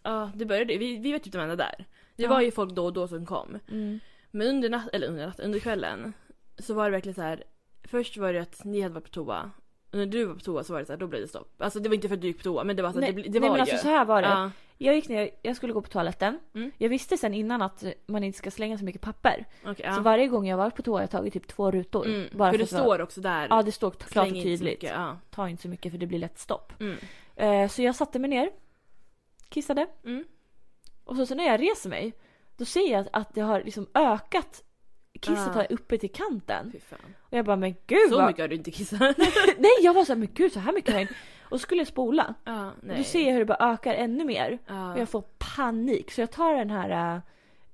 [SPEAKER 2] ja, det började, vi, vi var typ de enda där. Det
[SPEAKER 1] Ja.
[SPEAKER 2] var ju folk då och då som kom.
[SPEAKER 1] Mm.
[SPEAKER 2] Men under natten, eller under natten, under kvällen så var det verkligen så här. Först var det att ni hade varit på toa. Och när du var på toa så var det så här, då blev det stopp. Alltså det var inte för att du gick på toa men det var så att
[SPEAKER 1] Nej,
[SPEAKER 2] det, bli-
[SPEAKER 1] nej
[SPEAKER 2] det var
[SPEAKER 1] men
[SPEAKER 2] ju.
[SPEAKER 1] alltså så här var det.
[SPEAKER 2] Ja.
[SPEAKER 1] Jag gick ner, jag skulle gå på toaletten.
[SPEAKER 2] Mm.
[SPEAKER 1] Jag visste sen innan att man inte ska slänga så mycket papper.
[SPEAKER 2] Okej, ja.
[SPEAKER 1] Så varje gång jag varit på toa har jag tagit typ två rutor.
[SPEAKER 2] Mm,
[SPEAKER 1] Bara
[SPEAKER 2] för
[SPEAKER 1] för
[SPEAKER 2] det
[SPEAKER 1] att vara-
[SPEAKER 2] står också där.
[SPEAKER 1] Ja det står klart
[SPEAKER 2] släng
[SPEAKER 1] och
[SPEAKER 2] inte så
[SPEAKER 1] tydligt.
[SPEAKER 2] mycket, Ja.
[SPEAKER 1] Ta inte så mycket för det blir lätt stopp.
[SPEAKER 2] Mm.
[SPEAKER 1] Eh, så jag satte mig ner. Kissade.
[SPEAKER 2] Mm.
[SPEAKER 1] Och så, så när jag reser mig. Då ser jag att, att det har liksom ökat. Kisset
[SPEAKER 2] Ah.
[SPEAKER 1] har uppe till kanten.
[SPEAKER 2] Fy fan.
[SPEAKER 1] Och jag bara men gud
[SPEAKER 2] Så
[SPEAKER 1] vad...
[SPEAKER 2] mycket har du inte kissat.
[SPEAKER 1] Nej jag var såhär men gud så här mycket har jag inte. Och så skulle jag spola.
[SPEAKER 2] ja, nej. Ah.
[SPEAKER 1] Och då ser jag hur det bara ökar ännu mer.
[SPEAKER 2] Ja.
[SPEAKER 1] Och jag får panik så jag tar den här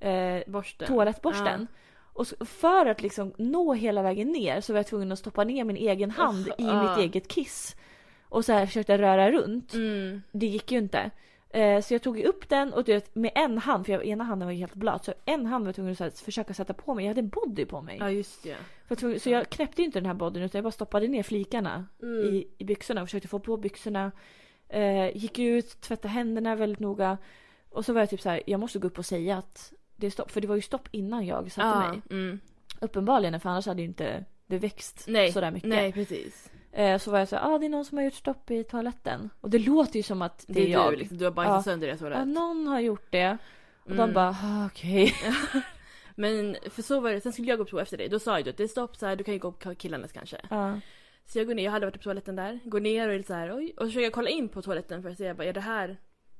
[SPEAKER 1] eh,
[SPEAKER 2] borsten.
[SPEAKER 1] toalettborsten. Och så, för att liksom nå hela vägen ner så var jag tvungen att stoppa ner min egen hand
[SPEAKER 2] Uff,
[SPEAKER 1] i
[SPEAKER 2] ja.
[SPEAKER 1] mitt eget kiss. Och så här försökte röra runt.
[SPEAKER 2] Mm.
[SPEAKER 1] Det gick ju inte. Eh, så jag tog ju upp den och du vet, med en hand, för jag, ena handen var ju helt blöt, så en hand var jag tvungen att så här, försöka sätta på mig. Jag hade en body på mig.
[SPEAKER 2] Ja just det.
[SPEAKER 1] För jag tvungen, så jag knäppte ju inte den här bodyn utan jag bara stoppade ner flikarna
[SPEAKER 2] Mm.
[SPEAKER 1] i, i byxorna och försökte få på byxorna. Eh, gick ut, tvättade händerna väldigt noga. Och så var jag typ så här, jag måste gå upp och säga att det är stopp. För det var ju stopp innan jag satte
[SPEAKER 2] Ja,
[SPEAKER 1] mig.
[SPEAKER 2] Mm.
[SPEAKER 1] Uppenbarligen, för annars hade ju inte det växt
[SPEAKER 2] Nej,
[SPEAKER 1] sådär mycket.
[SPEAKER 2] Nej precis.
[SPEAKER 1] Eh, så var jag så här, ah, det är någon som har gjort stopp i toaletten. Och det låter ju som att det,
[SPEAKER 2] Det är,
[SPEAKER 1] jag.
[SPEAKER 2] du liksom. Du har bajsat
[SPEAKER 1] Ja.
[SPEAKER 2] sönder deras
[SPEAKER 1] Ja,
[SPEAKER 2] toalett.
[SPEAKER 1] någon har gjort det. Och
[SPEAKER 2] Mm.
[SPEAKER 1] de bara, ah, okej.
[SPEAKER 2] Men för så var det, sen skulle jag gå på toa efter dig. Då sa jag ju att det är stopp så här, du kan ju gå på killarnas kanske.
[SPEAKER 1] Ja.
[SPEAKER 2] Så jag går ner, jag hade varit på toaletten där. Går ner och är lite så här, oj. Och så försöker jag kolla in på toaletten för att se, jag bara, är det här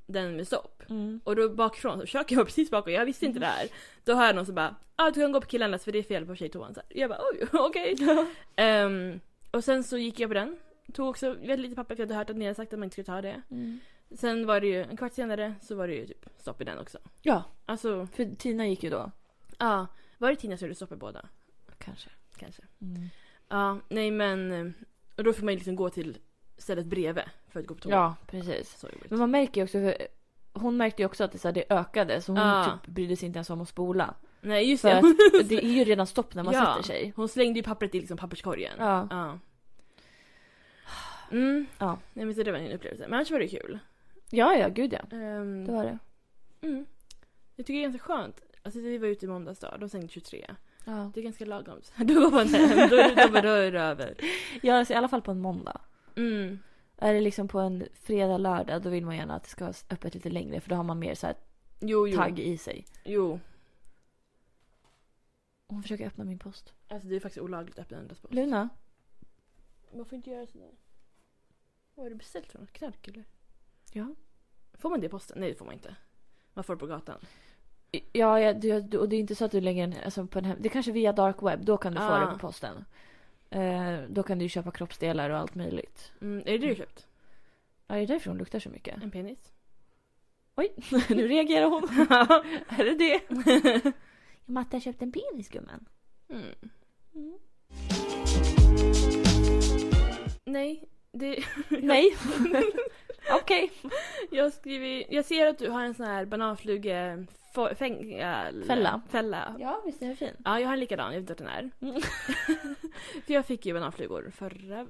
[SPEAKER 2] den med stopp?
[SPEAKER 1] Mm.
[SPEAKER 2] Och då bakifrån, så köket var precis bakom, jag visste inte det här. Då hör jag någon som bara ah, du kan gå på killarnas för det är fel på tjejtoan. Så här. Jag bara oj, okej. Ehm, och sen så gick jag på den. Tog också väldigt lite papper för jag hade hört att ni hade sagt att man inte skulle ta det.
[SPEAKER 1] Mm.
[SPEAKER 2] Sen var det ju en kvart senare så var det ju typ stopp i den också.
[SPEAKER 1] Ja,
[SPEAKER 2] Alltså,
[SPEAKER 1] för Tina gick ju då.
[SPEAKER 2] ja. var det Tina så gjorde stopp i båda?
[SPEAKER 1] Kanske.
[SPEAKER 2] Kanske. Ja, nej men. eh, Och då får man ju liksom gå till stället bredvid för att gå på toa.
[SPEAKER 1] Ja, precis.
[SPEAKER 2] Så jobbigt.
[SPEAKER 1] Men man märker ju också, för hon märkte ju också att det, så här, det ökade så hon
[SPEAKER 2] Ja.
[SPEAKER 1] typ brydde sig inte ens om att spola.
[SPEAKER 2] Nej just
[SPEAKER 1] För
[SPEAKER 2] det.
[SPEAKER 1] att det är ju redan stopp när man
[SPEAKER 2] Ja.
[SPEAKER 1] sätter sig.
[SPEAKER 2] Hon slängde ju pappret i liksom papperskorgen.
[SPEAKER 1] Ja.
[SPEAKER 2] Ja. Mm.
[SPEAKER 1] Ja.
[SPEAKER 2] Nej men så det var en upplevelse. Men annars var det kul.
[SPEAKER 1] ja, ja, gud ja.
[SPEAKER 2] Ehm,
[SPEAKER 1] Det var det.
[SPEAKER 2] mm. Jag tycker det är ganska skönt. Alltså vi var ute i måndags dag, de stängde 23.
[SPEAKER 1] Ja.
[SPEAKER 2] Det är ganska lagom. Du går på en hem, då är det- då är det- då är det över.
[SPEAKER 1] ja, alltså, i alla fall på en måndag.
[SPEAKER 2] Mm.
[SPEAKER 1] Är det liksom på en fredag, lördag då vill man gärna att det ska vara öppet lite längre för då har man mer så här
[SPEAKER 2] Jo, jo.
[SPEAKER 1] tagg i sig.
[SPEAKER 2] Jo.
[SPEAKER 1] Hon försöker öppna min post.
[SPEAKER 2] Alltså det är faktiskt olagligt att öppna andras post.
[SPEAKER 1] Luna?
[SPEAKER 2] Man får inte göra sådär. Vad har du beställt för något? Knark eller?
[SPEAKER 1] Ja?
[SPEAKER 2] Får man det i posten? Nej det får man inte. Man får det på gatan.
[SPEAKER 1] Ja, ja du, du, och det är inte så att du lägger en, alltså på en hem... Det är kanske via dark web, då kan du få
[SPEAKER 2] Ah.
[SPEAKER 1] det på posten. Eh, då kan du ju köpa kroppsdelar och allt möjligt.
[SPEAKER 2] Mm. Är det det du köpt?
[SPEAKER 1] Ja, är det därför hon luktar så mycket?
[SPEAKER 2] En penis?
[SPEAKER 1] Oj, nu reagerar hon. är det det? Matte har köpt en penis gumman.
[SPEAKER 2] Mm. Nej, det...
[SPEAKER 1] Nej. Okej.
[SPEAKER 2] Jag, har skrivit, jag ser att du har en sån här bananflugefälla.
[SPEAKER 1] Fälla.
[SPEAKER 2] äh, Fälla. Ja.
[SPEAKER 1] Ja, visst är den fin?
[SPEAKER 2] jag har en likadan. Jag vet inte vart den är.
[SPEAKER 1] Mm.
[SPEAKER 2] För jag fick ju bananflugor förra,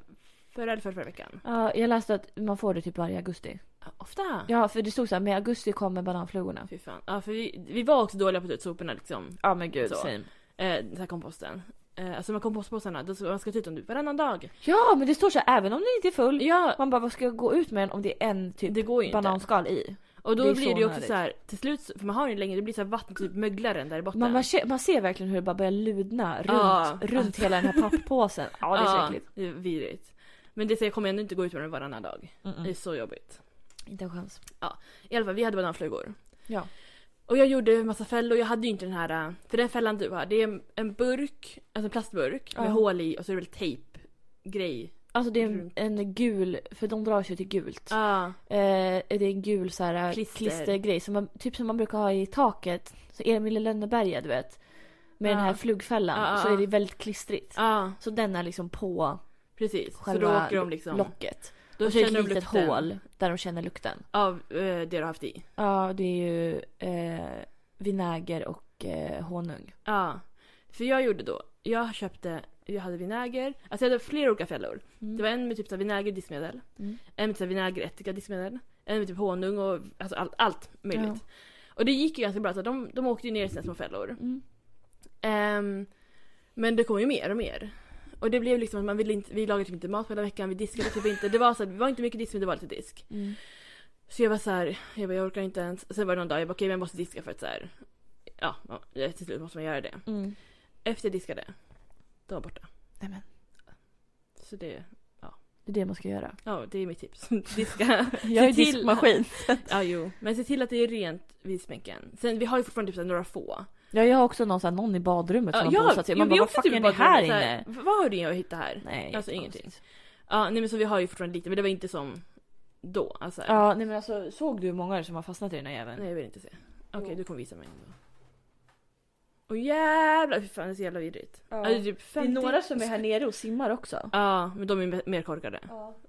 [SPEAKER 2] förra eller förra, förra veckan.
[SPEAKER 1] Ja, jag läste att man får det typ varje augusti.
[SPEAKER 2] Ja, Ofta.
[SPEAKER 1] Ja, för det stod så här, med augusti kommer bananflugorna.
[SPEAKER 2] Fy fan. Ja, för vi, vi var också dåliga på att ta ut soporna liksom.
[SPEAKER 1] Ja men gud,
[SPEAKER 2] same. Eh, den här komposten. Eh, alltså de här kompostpåsarna, då ska, man ska ta ut dem typ varannan dag.
[SPEAKER 1] Ja, men det står så här, även om den inte är full.
[SPEAKER 2] Ja,
[SPEAKER 1] Man bara, vad ska jag gå ut med den om det är en typ
[SPEAKER 2] det går ju inte.
[SPEAKER 1] bananskal i?
[SPEAKER 2] Och då
[SPEAKER 1] Det är
[SPEAKER 2] blir
[SPEAKER 1] så
[SPEAKER 2] det ju också
[SPEAKER 1] onödigt.
[SPEAKER 2] så här, till slut, för man har ju länge, det blir så här vatten, typ möglaren där i botten.
[SPEAKER 1] Man, man, ser, man ser verkligen hur det bara börjar ludna runt,
[SPEAKER 2] Ja.
[SPEAKER 1] runt hela den här papppåsen. Ja, det är så äckligt.
[SPEAKER 2] det är vidrigt. Men det säger jag kommer ändå inte gå ut med den varannan dag. Det är
[SPEAKER 1] Mm-mm.
[SPEAKER 2] så jobbigt.
[SPEAKER 1] Inte en chans.
[SPEAKER 2] I alla fall, vi hade bananflugor.
[SPEAKER 1] Ja.
[SPEAKER 2] Och jag gjorde en massa fällor, jag hade ju inte den här, äh, för den fällan du har, det är en- en burk, alltså en plastburk med
[SPEAKER 1] Ja.
[SPEAKER 2] hål i och så är det väl tejpgrej.
[SPEAKER 1] Alltså det är en,
[SPEAKER 2] Runt.
[SPEAKER 1] en gul, för de drar sig till gult.
[SPEAKER 2] Ja,
[SPEAKER 1] Eh, det är en gul så här, eh,
[SPEAKER 2] Klister.
[SPEAKER 1] klistergrej, som man, typ som man brukar ha i taket. Så Emil i Lönneberga, du vet. Med den
[SPEAKER 2] Ja.
[SPEAKER 1] här flugfällan
[SPEAKER 2] Ja, ja,
[SPEAKER 1] så
[SPEAKER 2] ja.
[SPEAKER 1] är det väldigt klistrigt.
[SPEAKER 2] ja
[SPEAKER 1] Så den är liksom på
[SPEAKER 2] precis. så då
[SPEAKER 1] Själva
[SPEAKER 2] åker de liksom,
[SPEAKER 1] locket.
[SPEAKER 2] då
[SPEAKER 1] och så är
[SPEAKER 2] känner
[SPEAKER 1] det
[SPEAKER 2] de
[SPEAKER 1] ett litet
[SPEAKER 2] lukten
[SPEAKER 1] hål där de känner lukten.
[SPEAKER 2] av eh, det du har haft i.
[SPEAKER 1] Ja, det är ju eh, vinäger och eh, honung.
[SPEAKER 2] Ja. För jag gjorde då, jag köpte, jag hade vinäger, alltså jag hade flera olika fällor. Det var en med typ så här vinäger och diskmedel,
[SPEAKER 1] Mm.
[SPEAKER 2] en med så här vinägerättika och diskmedel, en med typ honung och alltså allt, allt möjligt.
[SPEAKER 1] Ja.
[SPEAKER 2] Och det gick ju ganska bra, så de, de åkte ju ner i sina små fällor.
[SPEAKER 1] Mm.
[SPEAKER 2] Ehm, men det kom ju mer och mer. Och det blev liksom att man ville inte, vi lagade typ inte mat på hela veckan, vi diskade typ inte. Det var så att, det var inte mycket disk men det var lite disk.
[SPEAKER 1] Mm.
[SPEAKER 2] Så jag var så här, jag bara jag orkar inte ens. Sen var det någon dag jag bara okej men jag måste diska för att så här, ja, ja till slut måste man göra det.
[SPEAKER 1] Mm.
[SPEAKER 2] Efter jag diskade, då var borta.
[SPEAKER 1] Nej, men.
[SPEAKER 2] Så det,
[SPEAKER 1] Det är det man ska göra.
[SPEAKER 2] ja det är mitt tips. Diska.
[SPEAKER 1] Jag är
[SPEAKER 2] till-
[SPEAKER 1] diskmaskin.
[SPEAKER 2] ja jo. Men se till att det är rent vid smänken. Sen vi har ju fortfarande typ så här, några få.
[SPEAKER 1] Ja, jag har också någon, så här, någon i badrummet som har bosatt sig.
[SPEAKER 2] jo,
[SPEAKER 1] Man
[SPEAKER 2] vi
[SPEAKER 1] bara, vad
[SPEAKER 2] åkte
[SPEAKER 1] fucking
[SPEAKER 2] typ
[SPEAKER 1] är det här
[SPEAKER 2] badrummet, så
[SPEAKER 1] inne?
[SPEAKER 2] Vad har du att hitta här?
[SPEAKER 1] Nej,
[SPEAKER 2] Alltså,
[SPEAKER 1] jättekonstigt.
[SPEAKER 2] ingenting. Ja, nej men så vi har ju fortfarande lite, men det var inte som då. Alltså,
[SPEAKER 1] Ja, nej men alltså såg du hur många som har fastnat i den här jäveln?
[SPEAKER 2] Nej jag vill inte se. Okej
[SPEAKER 1] Jo.
[SPEAKER 2] du kommer visa mig ändå. Åh jävlar fy fan det är så jävla vidrigt.
[SPEAKER 1] Ja.
[SPEAKER 2] Alltså, typ 50...
[SPEAKER 1] här nere och simmar också.
[SPEAKER 2] Ja men de är me- mer korkade.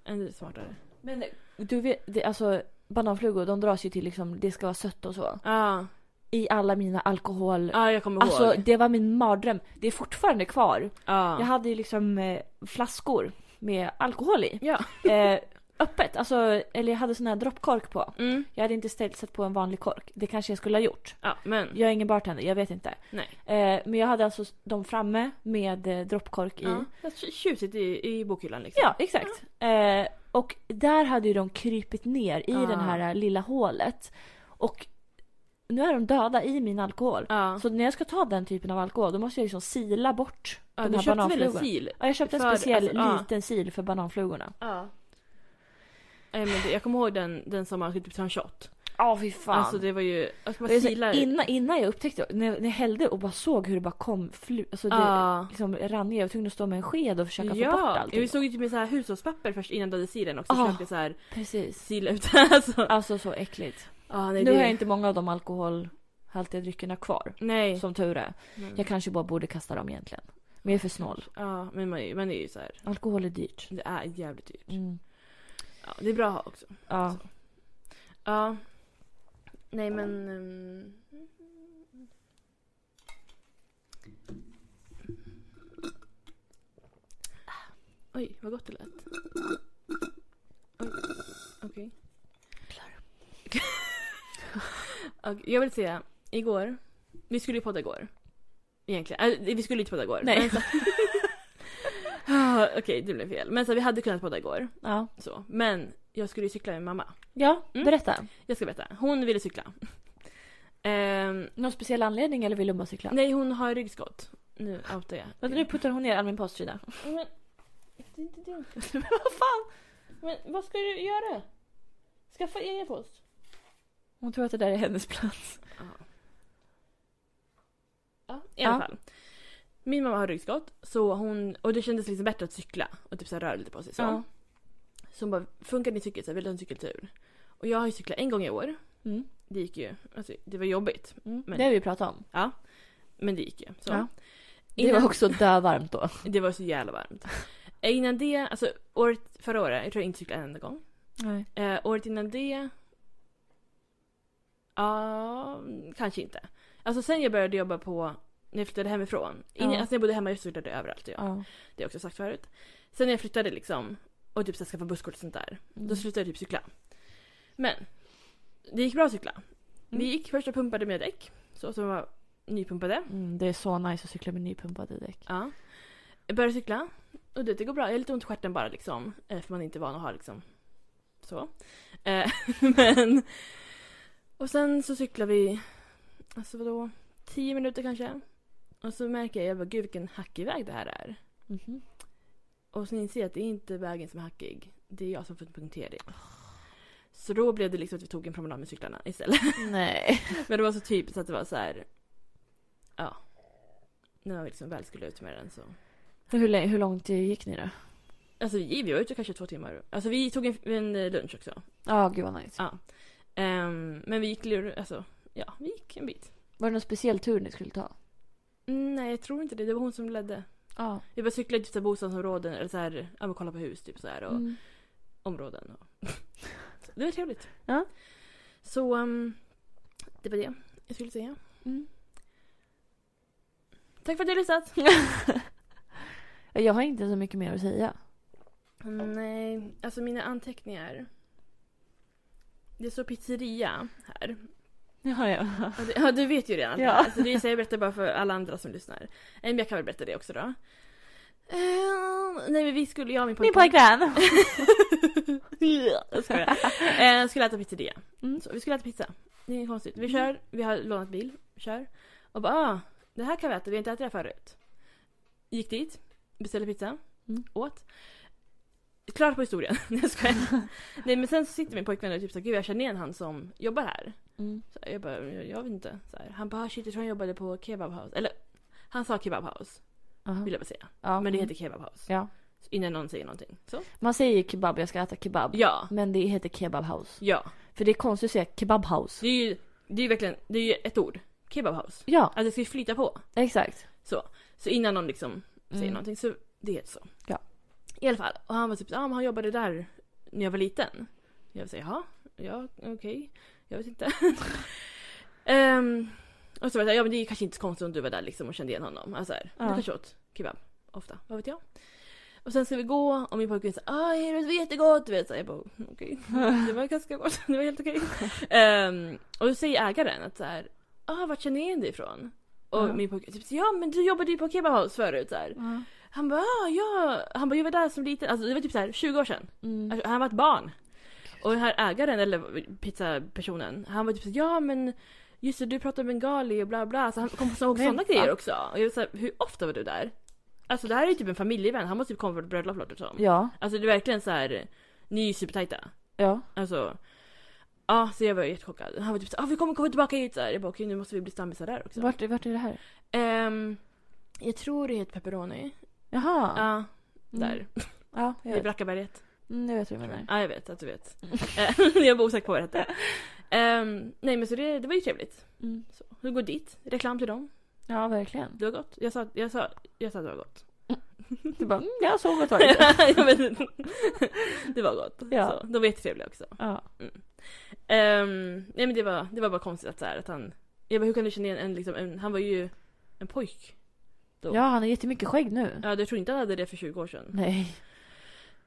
[SPEAKER 2] Än smartare.
[SPEAKER 1] Men du vet, det, alltså bananflugor de dras ju till liksom, det ska vara sött och så.
[SPEAKER 2] Ja,
[SPEAKER 1] I alla mina alkohol...
[SPEAKER 2] ja jag kommer
[SPEAKER 1] Alltså
[SPEAKER 2] ihåg.
[SPEAKER 1] det var min mardröm. Det är fortfarande kvar.
[SPEAKER 2] Ja.
[SPEAKER 1] Jag hade ju liksom eh, flaskor med alkohol i.
[SPEAKER 2] Ja.
[SPEAKER 1] Eh, öppet, alltså, eller jag hade sån här droppkork på.
[SPEAKER 2] Mm.
[SPEAKER 1] Jag hade inte ställt sett på en vanlig kork. Det kanske jag skulle ha gjort.
[SPEAKER 2] Ja men.
[SPEAKER 1] Jag är ingen bartender, jag vet inte.
[SPEAKER 2] Mm. Nej.
[SPEAKER 1] Eh, men jag hade alltså dem framme med eh, droppkork i.
[SPEAKER 2] Ja. Jag har tjutit i, i bokhyllan liksom.
[SPEAKER 1] Ja, exakt. Eh, och där hade ju de krypit ner i
[SPEAKER 2] Ah.
[SPEAKER 1] det här eh, lilla hålet. Och nu är de döda i min alkohol.
[SPEAKER 2] Ja.
[SPEAKER 1] Så när jag ska ta den typen av alkohol då måste jag liksom sila bort
[SPEAKER 2] ja
[SPEAKER 1] de
[SPEAKER 2] du
[SPEAKER 1] här
[SPEAKER 2] köpte väl en
[SPEAKER 1] bananflugorna.
[SPEAKER 2] sil?
[SPEAKER 1] Ja, jag köpte en
[SPEAKER 2] för-
[SPEAKER 1] speciell
[SPEAKER 2] alltså, ja.
[SPEAKER 1] liten sil för bananflugorna.
[SPEAKER 2] Ja. Nej, men det, jag kommer ihåg den, den som man skulle typ ta en shot.
[SPEAKER 1] Ja, fy fan.
[SPEAKER 2] Alltså det var ju... Jag ska
[SPEAKER 1] Och
[SPEAKER 2] bara
[SPEAKER 1] jag så-
[SPEAKER 2] sila...
[SPEAKER 1] innan, innan jag upptäckte, när jag, när jag hällde och bara såg hur det bara kom flu, alltså det
[SPEAKER 2] Ja.
[SPEAKER 1] liksom rann ner. Jag var tvungen att stå med en sked och försöka
[SPEAKER 2] ja,
[SPEAKER 1] få bort allting.
[SPEAKER 2] vi såg ju typ med så här hushållspapper först innan du hade silen också.
[SPEAKER 1] Ah.
[SPEAKER 2] Försökte så här
[SPEAKER 1] Precis.
[SPEAKER 2] sila ut alltså.
[SPEAKER 1] Alltså så äckligt.
[SPEAKER 2] Ah, nej,
[SPEAKER 1] Nu
[SPEAKER 2] det...
[SPEAKER 1] har jag inte många av de alkoholhaltiga dryckerna kvar.
[SPEAKER 2] Nej.
[SPEAKER 1] Som tur är.
[SPEAKER 2] Mm.
[SPEAKER 1] Jag kanske bara borde kasta dem egentligen. Men jag är för snål.
[SPEAKER 2] Ja, men man, är ju- man är ju så här.
[SPEAKER 1] Alkohol är dyrt.
[SPEAKER 2] Det är jävligt dyrt.
[SPEAKER 1] Mm.
[SPEAKER 2] Ja, det är bra att ha också.
[SPEAKER 1] Ja.
[SPEAKER 2] Ja. Nej men... ehm, Oj, vad gott det lät. Oj, Okej. Okej, Jag vill säga, igår, vi skulle ju podda igår. Egentligen, äh, vi skulle inte podda igår.
[SPEAKER 1] Nej.
[SPEAKER 2] men så- Ah, Okej, det blev fel. Men så vi hade kunnat podda igår.
[SPEAKER 1] Ja.
[SPEAKER 2] Så. Men jag skulle ju cykla med mamma.
[SPEAKER 1] ja,
[SPEAKER 2] Mm.
[SPEAKER 1] berätta.
[SPEAKER 2] Jag ska berätta. Hon ville cykla. Ehm,
[SPEAKER 1] Någon speciell anledning eller vill du bara cykla?
[SPEAKER 2] nej, hon har ryggskott. Nu outar jag.
[SPEAKER 1] Vänta nu puttar hon ner all min post Frida.
[SPEAKER 2] Men, det är inte din post. Men vad fan? Men vad ska du göra? Skaffa egen post.
[SPEAKER 1] Hon tror att det där är hennes plats.
[SPEAKER 2] Ja, i alla
[SPEAKER 1] Ja.
[SPEAKER 2] fall. Min mamma har ryggskott så hon, och det kändes liksom bättre att cykla och typ så här röra lite på sig. Så.
[SPEAKER 1] Ja.
[SPEAKER 2] så hon bara, funkar din cykel? Så här, vill du ha en cykeltur? Och jag har ju cyklat en gång i år.
[SPEAKER 1] Mm.
[SPEAKER 2] Det gick ju, alltså, det var jobbigt.
[SPEAKER 1] Mm.
[SPEAKER 2] Men-
[SPEAKER 1] Det har vi pratat om.
[SPEAKER 2] Men det gick ju. Så.
[SPEAKER 1] Ja. Det
[SPEAKER 2] Innan-
[SPEAKER 1] var också dövarmt då.
[SPEAKER 2] Det var så jävla varmt. Eh, Innan det, alltså året, förra året, jag tror jag inte cyklade en enda gång.
[SPEAKER 1] Nej.
[SPEAKER 2] Eh, året innan det... Ja, kanske inte. Alltså sen jag började jobba på, när jag flyttade hemifrån. Innan,
[SPEAKER 1] Ja.
[SPEAKER 2] Alltså när jag bodde hemma jag cyklade överallt. Ja.
[SPEAKER 1] Ja.
[SPEAKER 2] Det har jag också sagt förut. Sen när jag flyttade liksom och typ så här, skaffade busskort och sånt där. Då
[SPEAKER 1] Mm.
[SPEAKER 2] slutade jag typ cykla. Men det gick bra att cykla. Vi
[SPEAKER 1] Mm.
[SPEAKER 2] gick först och pumpade med däck. Så som var nypumpade.
[SPEAKER 1] Mm, det är så nice att cykla med nypumpade däck.
[SPEAKER 2] Ja. Jag började cykla. Och det, det går bra. Jag har lite ont i stjärten bara liksom. eh, För man är inte van att ha liksom så. Eh, Men Och sen så cyklar vi, alltså vadå, tio minuter kanske. Och så märker jag, jag bara, gud vilken hackig väg det här är.
[SPEAKER 1] Mhm.
[SPEAKER 2] Och sen inser jag att det är inte vägen som är hackig. Det är jag som fått punktering. Så då blev det liksom att vi tog en promenad med cyklarna istället.
[SPEAKER 1] Nej.
[SPEAKER 2] Men det var så typiskt att det var så här. Ja. När man liksom väl skulle ut med den så.
[SPEAKER 1] Hur, länge, hur långt gick ni då?
[SPEAKER 2] Alltså vi, vi var ute kanske två timmar. Alltså vi tog en, en lunch också.
[SPEAKER 1] Ja, gud vad nice.
[SPEAKER 2] Ja. Ehm, men vi gick, lur- alltså, ja, vi gick en bit.
[SPEAKER 1] Var det någon speciell tur ni skulle ta?
[SPEAKER 2] Mm, Nej, jag tror inte det. Det var hon som ledde.
[SPEAKER 1] Ja.
[SPEAKER 2] Vi bara cyklade till typ så här bostadsområden eller så här, ja men kolla på hus typ så här och
[SPEAKER 1] Mm.
[SPEAKER 2] områden. Och... Så det var trevligt.
[SPEAKER 1] Ja.
[SPEAKER 2] Så ehm, det var det jag skulle säga.
[SPEAKER 1] Mm.
[SPEAKER 2] Tack för att du har lyssnat.
[SPEAKER 1] Jag har inte så mycket mer att säga.
[SPEAKER 2] Nej, alltså mina anteckningar. Det står pizzeria här.
[SPEAKER 1] Ja, ja.
[SPEAKER 2] Ja, det- Ja, du vet ju redan.
[SPEAKER 1] Ja.
[SPEAKER 2] Ja. Alltså, det är så jag berättar bara för alla andra som lyssnar. Eh, Men jag kan väl berätta det också då. Eh, nej men vi skulle, jag och min
[SPEAKER 1] Min
[SPEAKER 2] pojkvän
[SPEAKER 1] pojkvän!
[SPEAKER 2] Jag skojar. eh, skulle äta pizzeria.
[SPEAKER 1] Mm.
[SPEAKER 2] Så, vi skulle äta pizza. Det är inget konstigt. Vi kör, vi har lånat bil, kör. Och bara ah, det här kan vi äta, vi har inte ätit det här förut. Gick dit, beställde pizza,
[SPEAKER 1] Mm.
[SPEAKER 2] åt. Klart på historien, Nej, jag skojar. Nej men sen så sitter min pojkvän och typ såhär, gud jag känner igen han som jobbar här.
[SPEAKER 1] Mm.
[SPEAKER 2] Så jag bara, jag, jag vet inte. Så här, han bara, "Ah, shit jag tror han jobbade på Kebab House. Eller, han sa Kebab House,
[SPEAKER 1] Aha.
[SPEAKER 2] vill jag bara säga.
[SPEAKER 1] Ja.
[SPEAKER 2] Men det heter Kebab House.
[SPEAKER 1] Ja.
[SPEAKER 2] Innan någon säger någonting. Så.
[SPEAKER 1] Man säger kebab, jag ska äta kebab.
[SPEAKER 2] Ja,
[SPEAKER 1] Men det heter kebab house.
[SPEAKER 2] ja.
[SPEAKER 1] För det är konstigt att säga kebab house.
[SPEAKER 2] Det är ju, det är ju verkligen, det är ju ett ord. Kebab House.
[SPEAKER 1] Ja,
[SPEAKER 2] Att det ska ju flyta på.
[SPEAKER 1] exakt.
[SPEAKER 2] Så innan någon liksom säger
[SPEAKER 1] Mm.
[SPEAKER 2] någonting så det heter så.
[SPEAKER 1] Ja.
[SPEAKER 2] I alla fall. Och han var typ ja ah, men han jobbade där när jag var liten. Jag säger jaha, ja okej. Jag vet inte. Ehm, och så var jag så här, ja men det är kanske inte så konstigt om du var där liksom och kände igen honom. Alltså här,
[SPEAKER 1] Ja.
[SPEAKER 2] du kanske åt kebab ofta, vad vet jag. Och sen ska vi gå och min pojkvän säger ah Heroes var jättegott. Du vet så här, jag bara okej. Det var ganska gott, det var helt okej. Ehm, och då säger ägaren att så här, ah vart känner jag igen dig ifrån? Och
[SPEAKER 1] Ja.
[SPEAKER 2] min pojkvän typ ja men du jobbade ju på Kebab House förut så här.
[SPEAKER 1] Ja.
[SPEAKER 2] Han bara ah, ja, han bara jag var där som liten, alltså det var typ så här 20 år sedan.
[SPEAKER 1] Mm.
[SPEAKER 2] Alltså, han var ett barn. Och den här ägaren eller pizzapersonen, han var typ så här, ja men just det du pratade bengali och bla bla. Så han kom på sådana
[SPEAKER 1] Vänta.
[SPEAKER 2] grejer också. Och jag var så här, hur ofta var du där? Alltså det här är ju typ en familjevän, han måste typ komma från ett bröllop låter det som.
[SPEAKER 1] Ja,
[SPEAKER 2] Alltså det är verkligen så här, ni är ju supertajta.
[SPEAKER 1] ja.
[SPEAKER 2] Alltså. Ja, så jag var jättechockad. Han var typ såhär, ah, vi kommer komma tillbaka hit såhär. Jag bara okej nu måste vi bli stammisar där också.
[SPEAKER 1] Vart, vart är det här?
[SPEAKER 2] Ehm, jag tror det heter pepperoni.
[SPEAKER 1] Jaha.
[SPEAKER 2] Ja, där.
[SPEAKER 1] Mm. Ja, jag
[SPEAKER 2] I
[SPEAKER 1] vet.
[SPEAKER 2] Brackaberget.
[SPEAKER 1] Mm, jag vet vad du
[SPEAKER 2] Ja,
[SPEAKER 1] menar.
[SPEAKER 2] jag vet att du vet. Eh, jag var osäker på vad det hette. Ehm, nej men så det, det var ju trevligt.
[SPEAKER 1] Mm.
[SPEAKER 2] Så, du går dit, reklam till dem.
[SPEAKER 1] Ja, verkligen.
[SPEAKER 2] Det var gott. Jag sa, jag sa, jag sa att det var gott.
[SPEAKER 1] Du bara, mm, jag såg ett tag.
[SPEAKER 2] jag vet inte. det var gott.
[SPEAKER 1] Ja.
[SPEAKER 2] Så, de var jättetrevliga också.
[SPEAKER 1] Ja.
[SPEAKER 2] Ehm, nej men det var, det var bara konstigt att, så här, att han... Jag bara, hur kan du känna igen en, liksom, en... Han var ju en pojk. Då.
[SPEAKER 1] ja, han har jättemycket skägg nu.
[SPEAKER 2] Ja, jag tror inte han hade det för 20 år sedan.
[SPEAKER 1] Nej.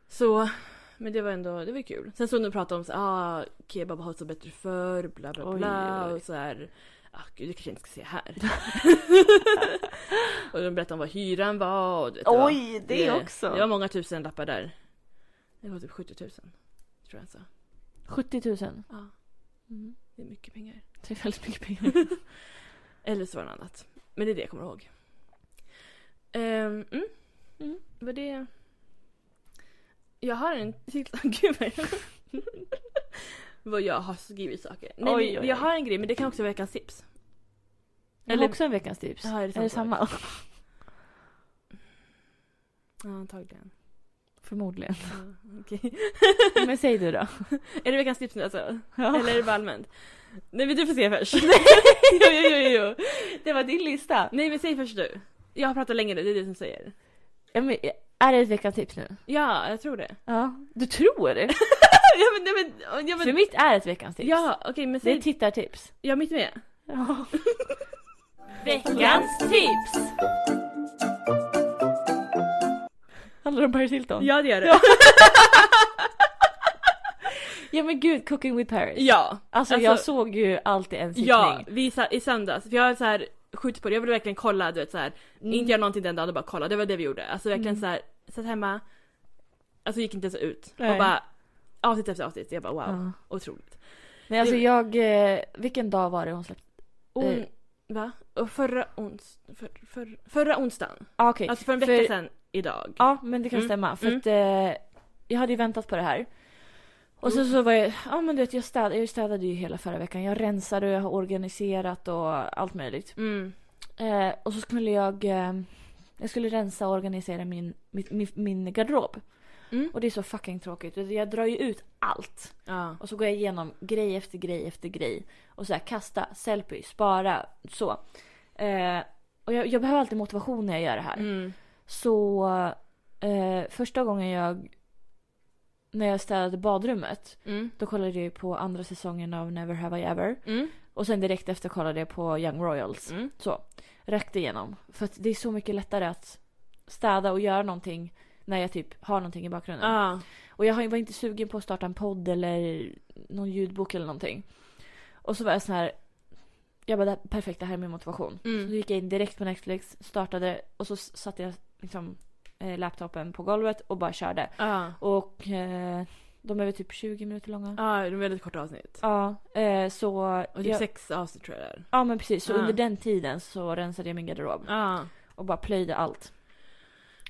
[SPEAKER 2] Så... Men det var ändå, det var ju kul. Sen stod de och pratade om så ah, kebab har så bättre förr, bla bla
[SPEAKER 1] Oj,
[SPEAKER 2] bla
[SPEAKER 1] oj.
[SPEAKER 2] och så här. Ah, gud det kanske jag inte ska säga här. och de berättade om vad hyran var och du vet, det var- Det var många tusen lappar där. Det var typ 70 000. Tror jag så.
[SPEAKER 1] 70 000.
[SPEAKER 2] Ja,
[SPEAKER 1] Mm.
[SPEAKER 2] det är mycket pengar.
[SPEAKER 1] Det är väldigt mycket pengar.
[SPEAKER 2] Eller så var det något annat. Men det är det jag kommer ihåg. Ehm, mm.
[SPEAKER 1] Mm.
[SPEAKER 2] Var det... Jag har en till... Gud vad jag... vad jag har skrivit saker. Nej,
[SPEAKER 1] Oj,
[SPEAKER 2] men
[SPEAKER 1] oj,
[SPEAKER 2] jag
[SPEAKER 1] oj.
[SPEAKER 2] har en grej men det kan också vara veckans tips.
[SPEAKER 1] Jag har
[SPEAKER 2] Eller-
[SPEAKER 1] också en veckans tips.
[SPEAKER 2] Ja, är det
[SPEAKER 1] är det
[SPEAKER 2] samma
[SPEAKER 1] samma?
[SPEAKER 2] Ja, antagligen.
[SPEAKER 1] Förmodligen.
[SPEAKER 2] Ja, okej.
[SPEAKER 1] Men säg du då.
[SPEAKER 2] är det veckans tips nu alltså?
[SPEAKER 1] Ja.
[SPEAKER 2] Eller är det bara allmänt? Nej men du får se först.
[SPEAKER 1] jo, jo, jo, jo. Det var din lista.
[SPEAKER 2] Nej men säg först du. Jag har pratat länge nu, det är du som säger.
[SPEAKER 1] Ja, men, är det ett veckans tips nu?
[SPEAKER 2] Ja, jag tror det.
[SPEAKER 1] Ja. Du tror?
[SPEAKER 2] ja men, nej, men, ja,
[SPEAKER 1] För
[SPEAKER 2] men...
[SPEAKER 1] mitt är ett veckans tips.
[SPEAKER 2] Ja, okej men
[SPEAKER 1] Det är
[SPEAKER 2] säg...
[SPEAKER 1] tittartips.
[SPEAKER 2] Ja, mitt med.
[SPEAKER 1] Ja.
[SPEAKER 2] Veckans tips!
[SPEAKER 1] Handlar det om Paris Hilton?
[SPEAKER 2] Ja det gör det.
[SPEAKER 1] Ja. Ja, men gud, Cooking with Paris.
[SPEAKER 2] Ja,
[SPEAKER 1] Alltså, jag
[SPEAKER 2] Alltså-
[SPEAKER 1] såg ju alltid en sittning.
[SPEAKER 2] ja vi sa, i söndags. För jag har så här skjutit på det. Jag ville verkligen kolla, du vet så här.
[SPEAKER 1] Mm.
[SPEAKER 2] Inte göra någonting den dagen och bara kolla. Det var det vi gjorde. Alltså verkligen
[SPEAKER 1] Mm.
[SPEAKER 2] så här, satt hemma. Alltså gick inte ens ut.
[SPEAKER 1] Nej.
[SPEAKER 2] Och bara avsnitt efter avsnitt. Jag bara wow,
[SPEAKER 1] Ja.
[SPEAKER 2] otroligt.
[SPEAKER 1] Nej alltså jag, eh, vilken dag var det hon släppte?
[SPEAKER 2] On...
[SPEAKER 1] Eh.
[SPEAKER 2] Va? Och förra, ons... för, för, förra onsdagen,
[SPEAKER 1] Ah, okej.
[SPEAKER 2] alltså för en vecka
[SPEAKER 1] För-
[SPEAKER 2] sedan idag.
[SPEAKER 1] Ja men det kan
[SPEAKER 2] Mm.
[SPEAKER 1] stämma för
[SPEAKER 2] Mm.
[SPEAKER 1] att eh, jag hade ju väntat på det här. Och sen
[SPEAKER 2] Mm.
[SPEAKER 1] så var jag, ja men du vet jag städade, jag städade ju hela förra veckan. Jag rensade och jag har organiserat och allt möjligt.
[SPEAKER 2] Mm.
[SPEAKER 1] Eh, och så skulle jag, eh, jag skulle rensa och organisera min, min, min, min garderob.
[SPEAKER 2] Mm.
[SPEAKER 1] Och det är så fucking tråkigt. Jag drar ju ut allt.
[SPEAKER 2] Ja.
[SPEAKER 1] Och så går jag igenom grej efter grej efter grej. Och så här kasta, selfie, spara, så. Eh, och jag, jag behöver alltid motivation när jag gör det här.
[SPEAKER 2] Mm.
[SPEAKER 1] Så eh, första gången jag, när jag städade badrummet,
[SPEAKER 2] Mm.
[SPEAKER 1] då kollade jag ju på andra säsongen av Never Have I Ever.
[SPEAKER 2] Mm.
[SPEAKER 1] Och sen direkt efter kollade jag på Young Royals.
[SPEAKER 2] Mm.
[SPEAKER 1] Så, räckte igenom. För att det är så mycket lättare att städa och göra någonting när jag typ har någonting i bakgrunden.
[SPEAKER 2] Ja.
[SPEAKER 1] Och jag har- var inte sugen på att starta en podd eller någon ljudbok eller någonting. Och så var jag sån här. Jag bara, det här, perfekt, det här är min motivation.
[SPEAKER 2] Mm.
[SPEAKER 1] Så då gick jag in direkt på Netflix, startade och så s- satte jag liksom eh, laptopen på golvet och bara körde.
[SPEAKER 2] Ja.
[SPEAKER 1] Och eh, de är väl typ 20 minuter långa.
[SPEAKER 2] Ja, det är väldigt korta avsnitt.
[SPEAKER 1] Ja, eh, så...
[SPEAKER 2] Och typ
[SPEAKER 1] jag,
[SPEAKER 2] sex avsnitt tror jag det är.
[SPEAKER 1] ja men precis, så
[SPEAKER 2] Ja.
[SPEAKER 1] under den tiden så rensade jag min garderob
[SPEAKER 2] Ja.
[SPEAKER 1] och bara plöjde allt.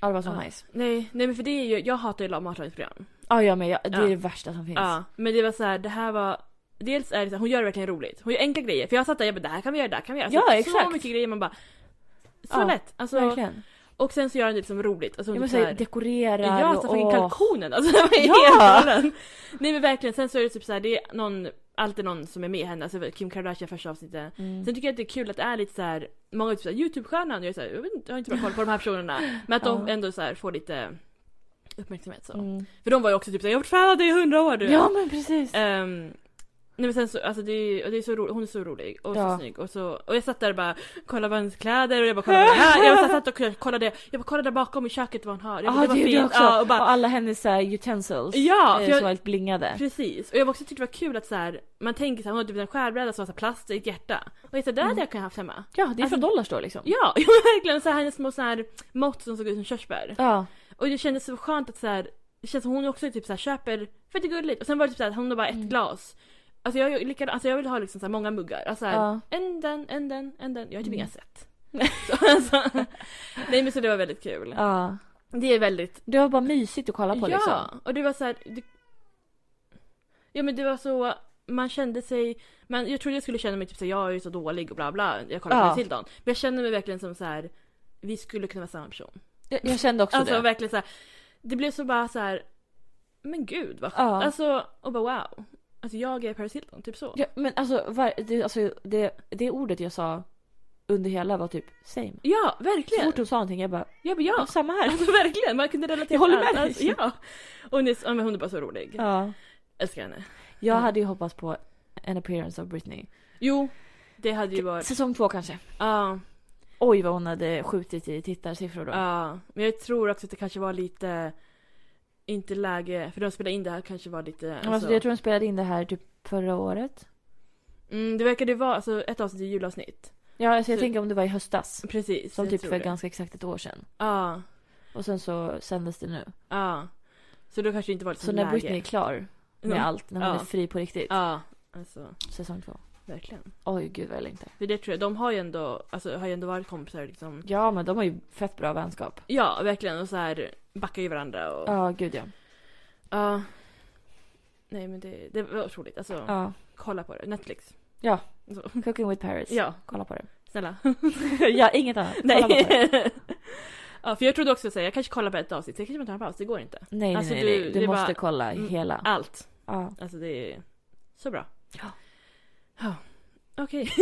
[SPEAKER 1] Ja det var så
[SPEAKER 2] Ja.
[SPEAKER 1] nice.
[SPEAKER 2] Nej, nej men för det är ju, jag hatar ju la- matlagningsprogram.
[SPEAKER 1] Ja jag med, jag, det är
[SPEAKER 2] Ja.
[SPEAKER 1] det värsta som finns.
[SPEAKER 2] Ja, men det var så här, det här var Dels är det så här, hon gör det verkligen roligt. Hon gör enkla grejer. För jag satt där jag bara det här kan vi göra, det här kan vi göra. Alltså,
[SPEAKER 1] Ja,
[SPEAKER 2] så, så
[SPEAKER 1] exakt.
[SPEAKER 2] mycket grejer man bara Så
[SPEAKER 1] Ja,
[SPEAKER 2] lätt! Alltså,
[SPEAKER 1] Verkligen.
[SPEAKER 2] och sen så gör hon det liksom roligt. Alltså,
[SPEAKER 1] Jag
[SPEAKER 2] typ
[SPEAKER 1] måste
[SPEAKER 2] så
[SPEAKER 1] säga
[SPEAKER 2] här,
[SPEAKER 1] dekorerar
[SPEAKER 2] Ja, så fucking
[SPEAKER 1] åh.
[SPEAKER 2] kalkonen alltså. Den var helt
[SPEAKER 1] Ja!
[SPEAKER 2] galen. Nej men verkligen, sen så är det typ så här, det är någon, alltid någon som är med henne. Alltså Kim Kardashian första avsnittet.
[SPEAKER 1] Mm.
[SPEAKER 2] Sen tycker jag att det är kul att det är lite så här, många är typ så här, Youtube-stjärnan, jag, är så här, jag, vet inte, jag har inte bra koll på de här personerna. Men att de
[SPEAKER 1] Ja.
[SPEAKER 2] ändå så här, får lite uppmärksamhet så.
[SPEAKER 1] Mm.
[SPEAKER 2] För de var ju också typ såhär, jag har varit fan av dig i hundra år du!
[SPEAKER 1] Ja men precis.
[SPEAKER 2] Ehm, nej men sen så, alltså det är, och det är så roligt, hon är så rolig och så
[SPEAKER 1] Ja.
[SPEAKER 2] snygg och så, och jag satt där och bara kollade vad hennes kläder och jag bara kollade vad det här, jag bara satt och kollade, jag bara kollade där bakom i köket vad hon har. Jag bara,
[SPEAKER 1] Ja det gjorde jag också.
[SPEAKER 2] Ja, och
[SPEAKER 1] och,
[SPEAKER 2] bara,
[SPEAKER 1] alla hennes så här, utensils.
[SPEAKER 2] ja,
[SPEAKER 1] eh,
[SPEAKER 2] för
[SPEAKER 1] så
[SPEAKER 2] jag,
[SPEAKER 1] helt blingade.
[SPEAKER 2] precis. Och jag också tyckte det var kul att så här, man tänker såhär, hon har typ en skärbräda som har så här plast i ett hjärta. Och jag sa, det hade
[SPEAKER 1] Mm.
[SPEAKER 2] jag kunnat haft hemma.
[SPEAKER 1] Ja det är
[SPEAKER 2] Alltså-
[SPEAKER 1] från Dollarstore liksom.
[SPEAKER 2] Ja, jag verkligen så här, hennes små så här mått som såg ut som körsbär.
[SPEAKER 1] Ja.
[SPEAKER 2] Och det kändes så skönt att så här, det känns som hon också typ så här, köper, för att det är gulligt. Och sen var det typ så här, hon har bara ett
[SPEAKER 1] Mm.
[SPEAKER 2] glas. Alltså jag, är likadan, alltså jag vill ha liksom så här många muggar. Alltså så här,
[SPEAKER 1] Ja.
[SPEAKER 2] en den, en den, en den. Jag har
[SPEAKER 1] Mm.
[SPEAKER 2] typ inga set. Så, alltså, nej men så det var väldigt kul.
[SPEAKER 1] ja.
[SPEAKER 2] Det är väldigt,
[SPEAKER 1] Det var bara mysigt att kolla på
[SPEAKER 2] ja.
[SPEAKER 1] liksom.
[SPEAKER 2] Och det var så här, det, ja men det var så, man kände sig, man, jag trodde jag skulle känna mig typ så här, jag är ju så dålig och bla bla, jag kollar
[SPEAKER 1] Ja.
[SPEAKER 2] på Matilda. Men jag kände mig verkligen som så här, vi skulle kunna vara samma person.
[SPEAKER 1] Jag, jag kände också
[SPEAKER 2] Alltså
[SPEAKER 1] det.
[SPEAKER 2] verkligen så här, det blev så bara så här. men gud vad skönt.
[SPEAKER 1] Ja.
[SPEAKER 2] Alltså, och bara wow. Alltså jag är Paris Hilton, typ så. Ja,
[SPEAKER 1] Ja, men alltså, var, det, alltså det, det ordet jag sa under hela var typ same. Så
[SPEAKER 2] verkligen.
[SPEAKER 1] fort hon sa någonting jag bara,
[SPEAKER 2] Ja, men ja.
[SPEAKER 1] samma här.
[SPEAKER 2] Alltså verkligen, man kunde relatera
[SPEAKER 1] Jag håller
[SPEAKER 2] till
[SPEAKER 1] med dig.
[SPEAKER 2] allt. Alltså, ja. Och nyss, ja, men hon är bara så rolig.
[SPEAKER 1] Ja.
[SPEAKER 2] Älskar henne.
[SPEAKER 1] Jag
[SPEAKER 2] Mm.
[SPEAKER 1] hade ju hoppats på an appearance av Britney.
[SPEAKER 2] Jo, det hade ju varit,
[SPEAKER 1] Säsong två kanske.
[SPEAKER 2] ja.
[SPEAKER 1] Oj vad hon hade skjutit i tittarsiffror då.
[SPEAKER 2] ja. Men jag tror också att det kanske var lite, inte läge, för de spelade in det här kanske var lite,
[SPEAKER 1] alltså, jag tror hon spelade in det här typ förra året.
[SPEAKER 2] mm, det verkade vara alltså, ett avsnitt i julavsnitt.
[SPEAKER 1] Ja alltså jag
[SPEAKER 2] Så-
[SPEAKER 1] tänker om det var i höstas.
[SPEAKER 2] Precis.
[SPEAKER 1] Som
[SPEAKER 2] jag
[SPEAKER 1] typ
[SPEAKER 2] tror
[SPEAKER 1] för
[SPEAKER 2] det.
[SPEAKER 1] ganska exakt ett år sedan.
[SPEAKER 2] Ja.
[SPEAKER 1] Och sen så sändes det nu.
[SPEAKER 2] Ja. Så då kanske det inte var
[SPEAKER 1] Så
[SPEAKER 2] liksom
[SPEAKER 1] när
[SPEAKER 2] läge.
[SPEAKER 1] Britney är klar med
[SPEAKER 2] Ja.
[SPEAKER 1] allt, när hon
[SPEAKER 2] Ja.
[SPEAKER 1] är fri på riktigt.
[SPEAKER 2] Ja, alltså
[SPEAKER 1] Säsong två.
[SPEAKER 2] verkligen.
[SPEAKER 1] Oj gud vad jag längtar.
[SPEAKER 2] För det tror jag, de har ju ändå, alltså, har ju ändå varit kompisar liksom.
[SPEAKER 1] Ja men de har ju fett bra vänskap.
[SPEAKER 2] Ja, verkligen. Och så här backar ju varandra och...
[SPEAKER 1] Ja gud ja.
[SPEAKER 2] Ja. Nej men det, det var otroligt. Alltså,
[SPEAKER 1] Ja.
[SPEAKER 2] kolla på det. Netflix.
[SPEAKER 1] Cooking with Paris.
[SPEAKER 2] Ja,
[SPEAKER 1] Kolla på det.
[SPEAKER 2] snälla.
[SPEAKER 1] ja inget annat. Kolla
[SPEAKER 2] Nej.
[SPEAKER 1] bara på det.
[SPEAKER 2] ja, för jag trodde också säga, jag kanske kollar på ett avsnitt, jag kanske inte har en paus, det går inte.
[SPEAKER 1] Nej
[SPEAKER 2] Alltså,
[SPEAKER 1] nej
[SPEAKER 2] du-
[SPEAKER 1] nej. Du,
[SPEAKER 2] det är
[SPEAKER 1] måste
[SPEAKER 2] bara-
[SPEAKER 1] kolla
[SPEAKER 2] Mm.
[SPEAKER 1] hela.
[SPEAKER 2] Allt.
[SPEAKER 1] Ja.
[SPEAKER 2] Alltså det är så bra.
[SPEAKER 1] Ja.
[SPEAKER 2] Ja. Okej.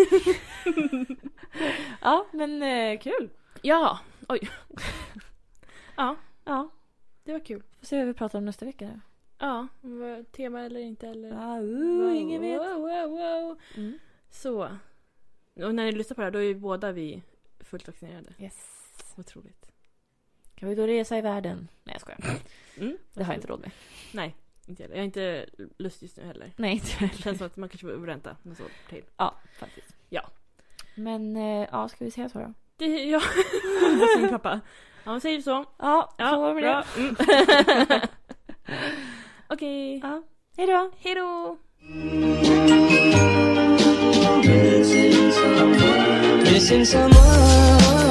[SPEAKER 1] Ja men eh, kul.
[SPEAKER 2] Ja, oj. ja,
[SPEAKER 1] Ja.
[SPEAKER 2] det var kul.
[SPEAKER 1] Får se vad vi pratar om nästa vecka.
[SPEAKER 2] Ja, vad- tema eller inte eller?
[SPEAKER 1] Ja,
[SPEAKER 2] Wow,
[SPEAKER 1] uh, ingen vet.
[SPEAKER 2] Wow, wow, wow.
[SPEAKER 1] Mm.
[SPEAKER 2] Så. Och när ni lyssnar på det här då är ju båda vi fullt vaccinerade.
[SPEAKER 1] Yes.
[SPEAKER 2] Otroligt.
[SPEAKER 1] Kan vi då resa i världen? Nej jag skojar.
[SPEAKER 2] Mm.
[SPEAKER 1] Det har jag inte råd med.
[SPEAKER 2] Nej, inte heller. Jag har inte lust just nu heller.
[SPEAKER 1] Nej inte
[SPEAKER 2] Det känns som att man kanske behöver vänta något år till.
[SPEAKER 1] Ja faktiskt.
[SPEAKER 2] Ja.
[SPEAKER 1] Men eh, ja ska vi säga så då?
[SPEAKER 2] Det, ja. det är min pappa. Ja, hon säger så.
[SPEAKER 1] Ja,
[SPEAKER 2] Ja,
[SPEAKER 1] så var det med
[SPEAKER 2] bra.
[SPEAKER 1] det.
[SPEAKER 2] Mm. Okej.
[SPEAKER 1] Ja. Hej då.
[SPEAKER 2] Hej då!
[SPEAKER 3] missing someone